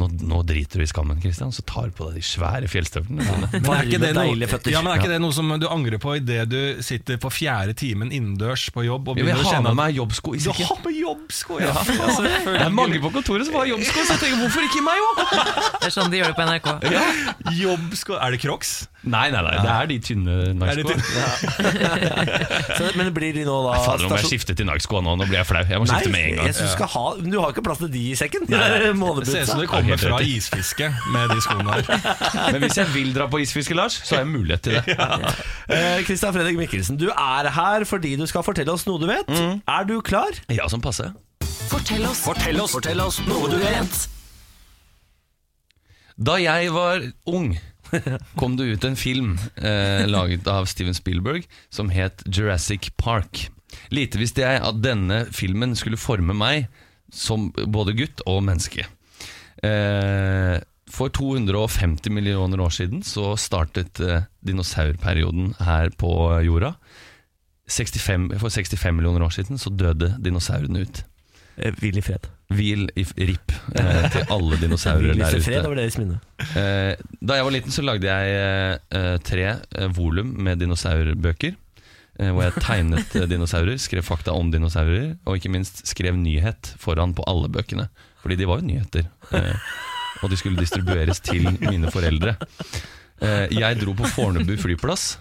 S6: nå, nå driter du i skammen, Christian, så tar du på deg de svære fjellstøvlene. dine.
S1: Men er ikke
S2: Varme,
S1: det noe,
S2: deilige føtter.
S1: ja, men er ikke det noe som du angrer på idet du sitter på fjerde timen innendørs på jobb og
S6: Jeg vil
S1: begynner å
S6: ha
S1: kjenne
S6: med
S1: at
S6: meg jobbsko i
S1: du
S6: sekken.
S1: har på jobbsko, ja! ja
S6: Det er
S1: selvfølgelig.
S6: mange på kontoret som har jobbsko, så jeg tenker hvorfor ikke meg òg?
S3: Det er sånn de gjør det på NRK.
S1: Jobbsko Er det Crocs?
S6: Nei, nei, nei, det er de tynne
S1: Er det
S6: Nike-skoene.
S1: til-
S2: Så- Men blir de nå da
S6: Fader, nå må jeg
S2: stasjon-
S6: skifte til Nike-skoa nå. Nå blir jeg flau. Jeg må
S2: Nei,
S6: skifte med en
S2: jeg
S6: gang.
S2: synes du, skal ha, men du har ikke plass til de i sekken.
S1: Det ser ut som
S2: Månebussa.
S1: det kommer
S6: helt
S1: fra
S6: riktig.
S1: isfiske med de skoene her.
S6: Men hvis jeg vil dra på isfiske, Lars, så har jeg mulighet til det.
S2: Eh, Christian Fredrik Mikkelsen, du er her fordi du skal fortelle oss noe du vet.
S1: Mm.
S2: Er du klar?
S6: Ja, som passe.
S3: Fortell oss.
S2: Fortell oss, noe du vet.
S6: Da jeg var ung, kom det ut en film eh, laget av Steven Spielberg som het Jurassic Park. Lite visste jeg at denne filmen skulle forme meg som både gutt og menneske. Eh, for 250 millioner år siden så startet eh, dinosaurperioden her på jorda. 65, for 65 millioner år siden så døde dinosaurene ut.
S2: Eh, Hvil i fred.
S6: Hvil i f- rip eh, til alle dinosaurer
S2: Hvil i
S6: der
S2: fred
S6: ute.
S2: over deres minne.
S6: Eh, Da jeg var liten så lagde jeg eh, tre eh, volum med dinosaurbøker. eh, Hvor jeg tegnet eh, dinosaurer, skrev fakta om dinosaurer, og ikke minst skrev nyhet foran på alle bøkene. Fordi de var jo nyheter. eh, Og de skulle distribueres til mine foreldre. Eh, Jeg dro på Fornebu flyplass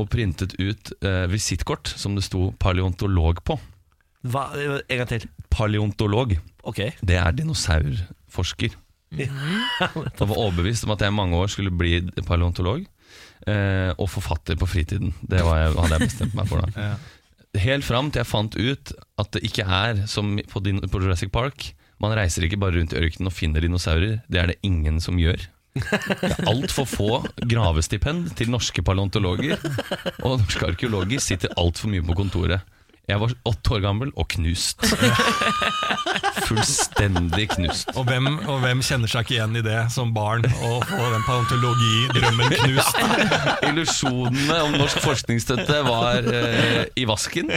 S6: og printet ut eh, visittkort som det sto paleontolog på.
S2: Hva, en gang til.
S6: Paleontolog,
S2: Ok.
S6: det er dinosaurforsker. Jeg var overbevist om at jeg i mange år skulle bli paleontolog eh, og forfatter på fritiden. Det var jeg, hadde jeg bestemt meg for da. Helt fram til jeg fant ut at det ikke er som på, din, på Jurassic Park. Man reiser ikke bare rundt i ørkenen og finner dinosaurer. Det er det ingen som gjør. Det er altfor få gravestipend til norske paleontologer. Og norske arkeologer sitter altfor mye på kontoret. Jeg var åtte år gammel og knust. Fullstendig knust.
S1: Og hvem, og hvem kjenner seg ikke igjen i det som barn, å få den paleontologidrømmen knust?
S6: Illusjonene om norsk forskningsstøtte var eh, i vasken.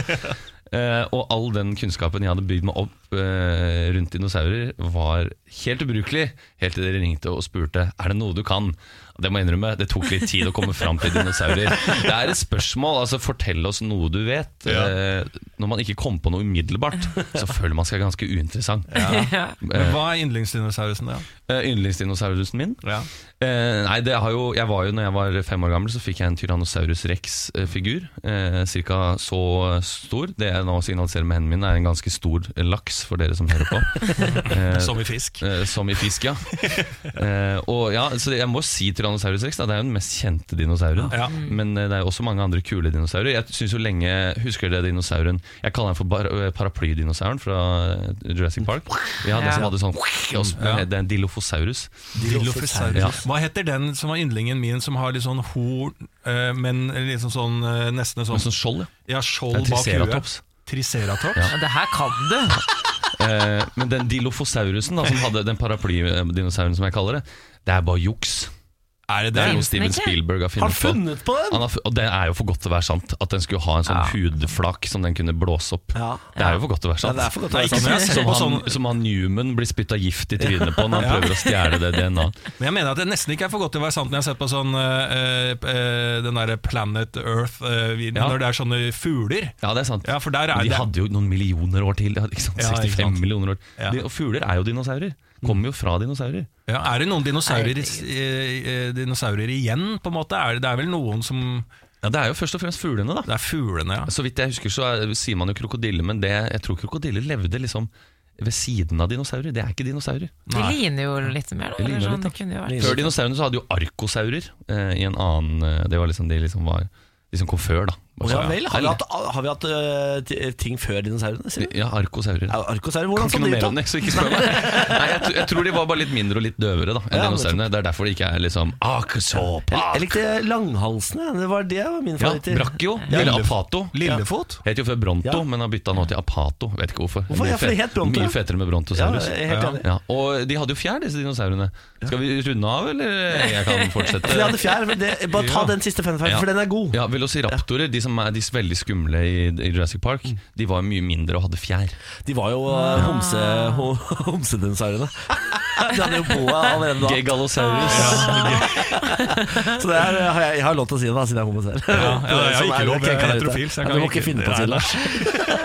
S6: Eh, og all den kunnskapen jeg hadde bygd meg opp eh, rundt dinosaurer, var helt ubrukelig. Helt til dere ringte og spurte Er det noe du kan. Og Det må jeg innrømme, det tok litt tid å komme fram til dinosaurer. Det er et spørsmål. altså Fortell oss noe du vet.
S1: Ja.
S6: Eh, når man ikke kom på noe umiddelbart, så føler man seg ganske uinteressant.
S1: Men hva er yndlingsdinosaurusen, da?
S6: Eh, Yndlingsdinosaurusen min
S1: Ja.
S6: Eh, nei, det har jo, jeg var jo, når jeg var fem år gammel, så fikk jeg en Tyrannosaurus rex-figur. Eh, cirka så stor. Det jeg nå signaliserer med hendene mine, er en ganske stor eh, laks, for dere som hører på. Eh,
S1: Som i fisk.
S6: eh, som i fisk, ja. Eh, og ja, så jeg må si Tyrannosaurus rex. Da, det er jo den mest kjente dinosauren.
S1: Ja.
S6: Men eh, det er jo også mange andre kule dinosaurer. Jeg synes jo lenge, Husker dere dinosauren Jeg kaller den for bar- eh, paraplydinosauren fra eh, Jurassic Park. Ja, Den som hadde sånn og så-
S1: Ja.
S6: Det er en Dilophosaurus.
S1: Dilophosaurus.
S6: Ja.
S1: Hva heter den som var yndlingen min, som har litt sånn horn, eh, men liksom sånn eh, nesten en
S6: Med
S1: sånn
S6: sånn skjold, ja.
S1: ja, skjold
S6: Det
S1: bak
S6: er
S1: huet?
S6: triceratops.
S1: Triceratops?
S6: Ja.
S3: Ja, det her kan du!
S6: Eh, men den dilophosaurusen, da, som hadde den paraplydinosauren som jeg kaller det, det er bare juks.
S1: Er det
S6: Det
S1: det?
S6: er noe
S3: Finnes den
S6: Steven
S3: ikke?
S6: Spielberg har
S2: Har
S6: funnet på.
S2: funnet på den!
S6: Han har, fu- og det er jo for godt til å være sant. At den skulle ha en sånn hudflak som den kunne blåse opp.
S2: Ja.
S6: Det er jo for godt til å
S2: Ja,
S6: være sant.
S2: det er for godt å
S1: Nei,
S2: være
S1: ikke
S2: sant.
S1: når jeg ser
S6: som,
S1: på
S6: han,
S1: sånn
S6: som han Newman blir spytta gift i trynet på når han prøver å stjele det DNA-et.
S1: Men jeg mener at det nesten ikke er for godt til å være sant når jeg har sett på sånn eh, eh, den derre Planet Earth-videoen,
S6: Ja.
S1: når det er sånne fugler.
S6: Ja, det er sant.
S1: Ja, for der er
S6: Men de
S1: det
S6: hadde jo noen millioner år til. Ikke sant?
S1: Ja, ikke
S6: 65
S1: sant.
S6: millioner år.
S1: Ja.
S6: De, og fugler er jo dinosaurer. Kommer jo fra dinosaurer.
S1: ja, Er det noen dinosaurer, eh, eh, dinosaurer igjen, på en måte? Er det, det er vel noen som
S6: Ja, det er jo først og fremst fuglene, da.
S1: Det er fuglene, ja.
S6: Så vidt jeg husker så er, sier man jo krokodille, men det, jeg tror krokodiller levde liksom ved siden av dinosaurer. Det er ikke dinosaurer.
S3: De ligner jo litt mer, da.
S6: De ligner
S3: Eller
S6: litt,
S3: sånn,
S6: da.
S3: det kunne jo vært.
S6: Før dinosaurene så hadde jo arkosaurer eh, i en annen eh, Det var liksom de liksom var De som kom før, da.
S2: Å, ja vel, har vi hatt, har vi hatt øh, ti- ting før dinosaurene? sier du?
S6: Ja, arkosaurer.
S2: Ja, Arkosaurer, hvordan
S6: Kan
S2: så
S6: ikke noe
S2: de
S6: mer
S2: ut?
S6: om
S2: da?
S6: det, så ikke spør meg. Nei, jeg, tr- jeg tror de var bare litt mindre og litt døvere da enn
S2: Ja,
S6: dinosaurene. Det er derfor det ikke er liksom Arkosaup.
S2: Jeg likte langhalsene. Det var det var min
S6: Ja,
S2: favoritt.
S6: Brakio.
S1: Ja.
S6: Eller Apato.
S1: Lillefot?
S6: Het jo før Bronto,
S2: Ja.
S6: men har bytta nå til Apato. Vet ikke hvorfor.
S2: Hvorfor?
S6: Mye
S2: Ja, for det
S6: fet-
S2: het Bronto, ja.
S6: Mye fetere med
S2: ja,
S6: Brontosaurus.
S2: jeg er helt enig.
S6: Ja, og de hadde jo fjær, disse dinosaurene. Skal vi runde av, eller jeg kan
S2: For jeg
S6: fortsette?
S2: Eh, hadde fjær, men det, bare ta
S6: Ja.
S2: den siste fun facten,
S6: Ja.
S2: for den er god.
S6: Ja, Velociraptorer, de som er de er veldig skumle i, i Jurassic Park,
S2: Mm.
S6: de var mye mindre og hadde fjær.
S2: De var jo øh, homse, ho- homsedinosaurene. De hadde jo boa allerede da.
S6: Gegalosaurus.
S2: Ah. Så det er, øh, har jeg, jeg har lov til å si det, da, siden jeg er homo selv.
S1: Ja, ja, jeg har
S2: Sånn
S1: ikke
S2: er det,
S1: lov, jeg er
S2: krenka der ute.
S1: heterofil, så jeg
S2: Ja,
S1: kan
S2: Du må ikke
S1: ikke-
S2: finne på å si
S1: Nei,
S2: det,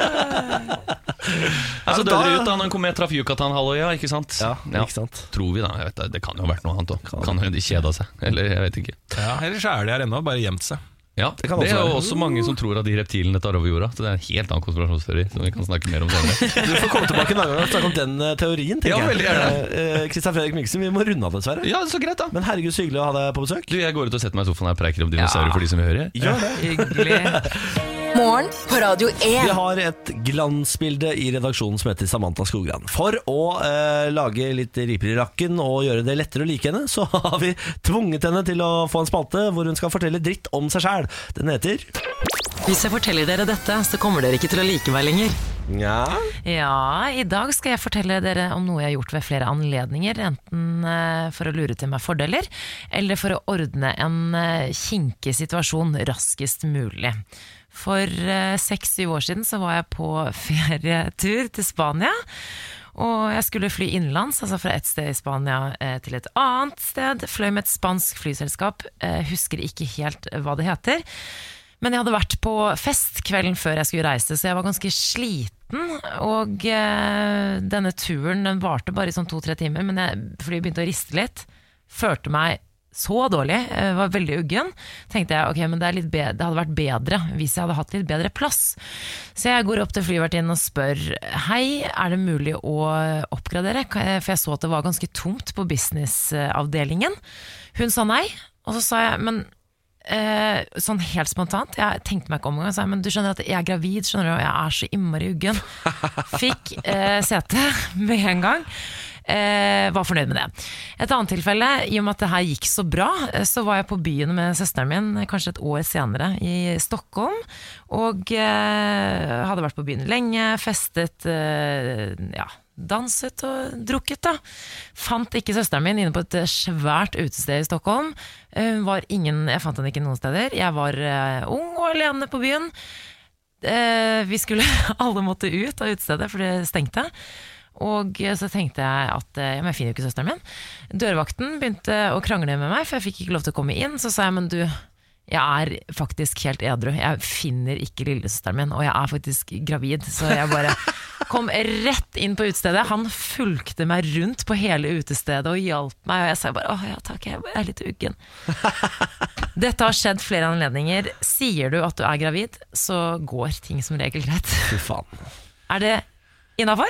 S2: Lars.
S6: Ja, så
S2: Ja, da-
S6: Altså, døde de ut da når en komet traff Yucatan-halvøya, ikke sant?
S2: Ja, ikke sant.
S6: Tror vi, da. jeg vet Det det kan jo ha vært noe annet òg. Kan jo de kjeda seg. Eller jeg vet ikke.
S1: Ja, Eller så er de her ennå, bare gjemt seg.
S6: Ja, det,
S2: kan også
S6: er
S2: være.
S6: jo også mange som tror at de reptilene tar over jorda. Så det er en helt annen konspirasjonsteori som vi kan snakke mer om senere.
S2: Du får komme tilbake en annen gang og snakke om den øh, teorien, tenker
S6: Ja, veldig gjerne.
S2: jeg. Kristian Fredrik Mikkelsen, vi må runde av, dessverre.
S6: Ja, så greit, da.
S2: Men herregud, så hyggelig å ha deg på besøk.
S6: Du, jeg går ut og setter meg i sofaen her og preiker om dinosaurer for de som vil høre.
S2: Gjør det.
S3: Hyggelig.
S4: Morgen på Radio
S2: Vi
S4: 1.
S2: har et glansbilde i redaksjonen som heter Samantha Skogran. For å eh, lage litt riper i rakken og gjøre det lettere å like henne, så har vi tvunget henne til å få en spalte hvor hun skal fortelle dritt om seg sjæl. Den heter
S7: Hvis jeg forteller dere dette, så kommer dere ikke til å like meg lenger.
S2: Nja
S3: Ja, i dag skal jeg fortelle dere om noe jeg har gjort ved flere anledninger. Enten eh, for å lure til meg fordeler, eller for å ordne en eh, kinkig situasjon raskest mulig. For seks-syv år siden så var jeg på ferietur til Spania. Og jeg skulle fly innenlands, altså fra et sted i Spania eh, til et annet sted. Fløy med et spansk flyselskap, eh, husker ikke helt hva det heter. Men jeg hadde vært på fest kvelden før jeg skulle reise, så jeg var ganske sliten. Og eh, denne turen den varte bare i sånn to-tre timer, men jeg, flyet begynte å riste litt. Følte meg så dårlig, eh, var veldig uggen. Tenkte jeg ok, men det, er litt bedre, det hadde vært bedre hvis jeg hadde hatt litt bedre plass. Så jeg går opp til flyvertinnen og spør hei, er det mulig å oppgradere? Kan jeg- For jeg så at det var ganske tomt på businessavdelingen. Hun sa nei, og så sa jeg men Eh, sånn helt spontant Jeg tenkte meg ikke om engang. sa jeg, Men du skjønner at jeg er gravid, skjønner du, og jeg er så innmari uggen. Fikk eh, sete med en gang. Eh, var fornøyd med det. Et annet tilfelle, i og med at det her gikk så bra, eh, så var jeg på byen med søsteren min eh, kanskje et år senere, i Stockholm. Og eh, hadde vært på byen lenge, festet, eh, ja, danset og drukket, da. Fant ikke søsteren min inne på et eh, svært utested i Stockholm. Eh, Hun var ingen, jeg fant henne ikke noen steder. Jeg var eh, ung og alene på byen eh, vi skulle alle måtte ut av utestedet, for det stengte. Og eh, så tenkte jeg at eh, ja, men jeg finner jo ikke søsteren min. Dørvakten begynte å krangle med meg, for jeg fikk ikke lov til å komme inn. Så sa jeg men du, jeg er faktisk helt edru. Jeg finner ikke lillesøsteren min, og jeg er faktisk gravid. Så jeg bare kom rett inn på utestedet. Han fulgte meg rundt på hele utestedet og hjalp meg. Og jeg sa bare åh ja takk, jeg er litt uggen. Dette har skjedd flere anledninger. Sier du at du er gravid, så går ting som regel greit.
S2: Fy faen.
S3: Er det innafor?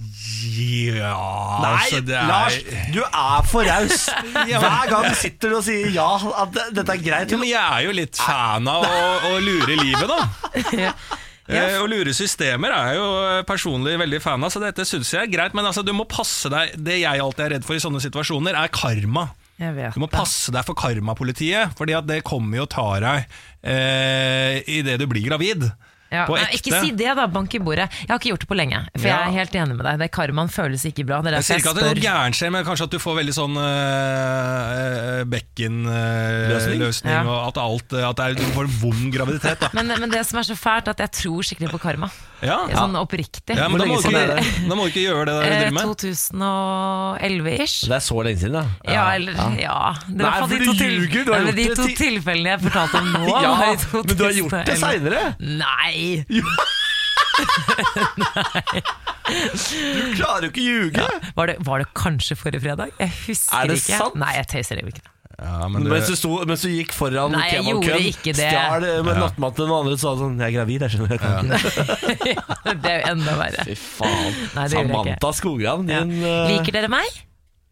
S1: Ja
S2: Nei,
S1: altså, det er-
S2: Lars, du er for raus. Hver gang sitter du og sier ja, at det- dette er greit.
S1: Ja, men jeg er jo litt fan av å, å lure livet, da. Eh, Å lure systemer er jeg jo eh, personlig veldig fan av, så dette syns jeg er greit. Men altså, du må passe deg Det jeg alltid er redd for i sånne situasjoner, er karma.
S3: Jeg vet
S1: Du må
S3: det.
S1: passe deg for karmapolitiet, Fordi at det kommer jo og tar deg eh, idet du blir gravid.
S3: Ja,
S1: på
S3: nei,
S1: ekte.
S3: ikke si det, da. Bank i bordet. Jeg har ikke gjort det på lenge. For
S1: Ja.
S3: jeg er helt enig med deg. Det Karmaen føles ikke bra. Det
S1: Jeg
S3: er derfor
S1: sier
S3: jeg
S1: ikke at det
S3: spør.
S1: går gærent, skjer, men kanskje at du får veldig sånn eh,
S2: Løsning?
S1: bekkenløsning,
S3: Ja.
S1: eh, og at, alt, eh, at det er, du får en vond graviditet. Da.
S3: Men, men det som er så fælt, er at jeg tror skikkelig på karma.
S1: Ja.
S3: Sånn oppriktig.
S1: Ja, men da må,
S2: lenge
S1: du
S2: siden er
S1: ikke, da må du ikke gjøre det der du
S3: Eh,
S1: driver med.
S3: 2011-ish.
S2: Det er så lenge siden, da.
S3: Ja, eller Ja. Det
S2: Nei,
S3: var
S2: for
S3: de
S2: du
S3: to, til...
S2: ljuger, du har
S3: Nei, men de
S2: gjort det
S3: to
S2: ti-
S3: tilfellene jeg fortalte om nå,
S2: Ja,
S3: var i 2011.
S2: men du har gjort det seinere.
S3: Nei!
S2: Klarer jo ikke å ljuge.
S3: Var det, var det kanskje forrige fredag? Jeg husker
S2: Er det
S3: ikke.
S2: sant?
S3: Nei, jeg tøyser det ikke.
S1: Ja, men
S2: Mens,
S1: du,
S2: du sto, mens du gikk foran
S3: Nei, jeg
S2: kebabkøen,
S3: gjorde ikke det.
S2: stjal eh, med nattmaten til noen andre og sa sånn 'Jeg er gravid, jeg skjønner ikke
S3: Det er jo enda verre.
S2: Fy faen.
S3: Nei, det gjorde jeg
S2: Samantha Skogran,
S3: Ja.
S2: din eh,
S3: Liker dere meg?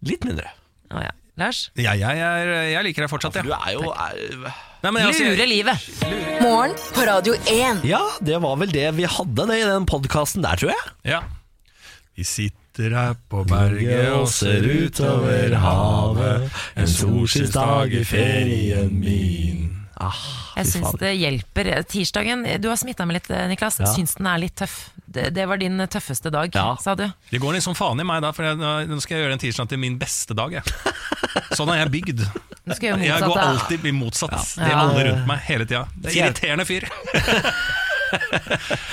S2: Litt mindre.
S3: Å ja. Lars?
S1: ja, jeg, er- jeg liker deg fortsatt,
S2: Du
S1: ja.
S2: er jo er,
S1: Nei, men jeg, altså,
S3: Lure livet!
S4: Morgen på Radio 1.
S2: Ja, det var vel det vi hadde det i den podkasten der, tror jeg.
S1: ja. Vi sitter her på berget og ser utover havet. En solskinnsdag i ferien min.
S2: Ah.
S3: Jeg
S2: Fy
S3: syns
S2: faen.
S3: det hjelper. Tirsdagen, du har smitta meg litt, Niklas. Syns den er litt tøff. Det, det var din tøffeste dag,
S2: Ja.
S3: sa du.
S1: Det går litt som faen i meg da, for jeg, nå skal jeg gjøre en tirsdag til min beste dag. Jeg. Sånn er jeg bygd.
S3: Du skal gjøre
S1: Jeg går
S3: motsatt.
S1: alltid blir motsatt til
S3: Ja.
S1: alle rundt meg hele tida. Det er Irriterende fyr.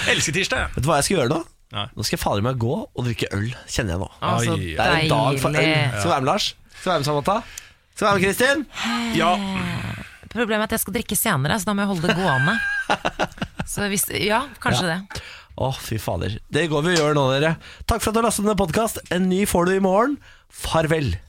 S1: Elsker tirsdag, jeg.
S2: Vet du hva jeg skal gjøre nå?
S1: Nei.
S2: Nå skal jeg fader meg gå og drikke øl, kjenner jeg nå.
S3: da. Å, så
S1: Ai,
S2: Det er en dag for øl.
S3: deilig.
S2: Skal du være med, Lars? Skal du være med, Samantha? Skal du være med, Kristin?
S3: Eh.
S1: Ja.
S3: Problemet er at jeg skal drikke senere, så da må jeg holde det gående. Så hvis, ja, kanskje det.
S2: Å, fy fader. Det går vi og gjør nå, dere. Takk for at du har lastet ned podkast. En ny får du i morgen. Farvel.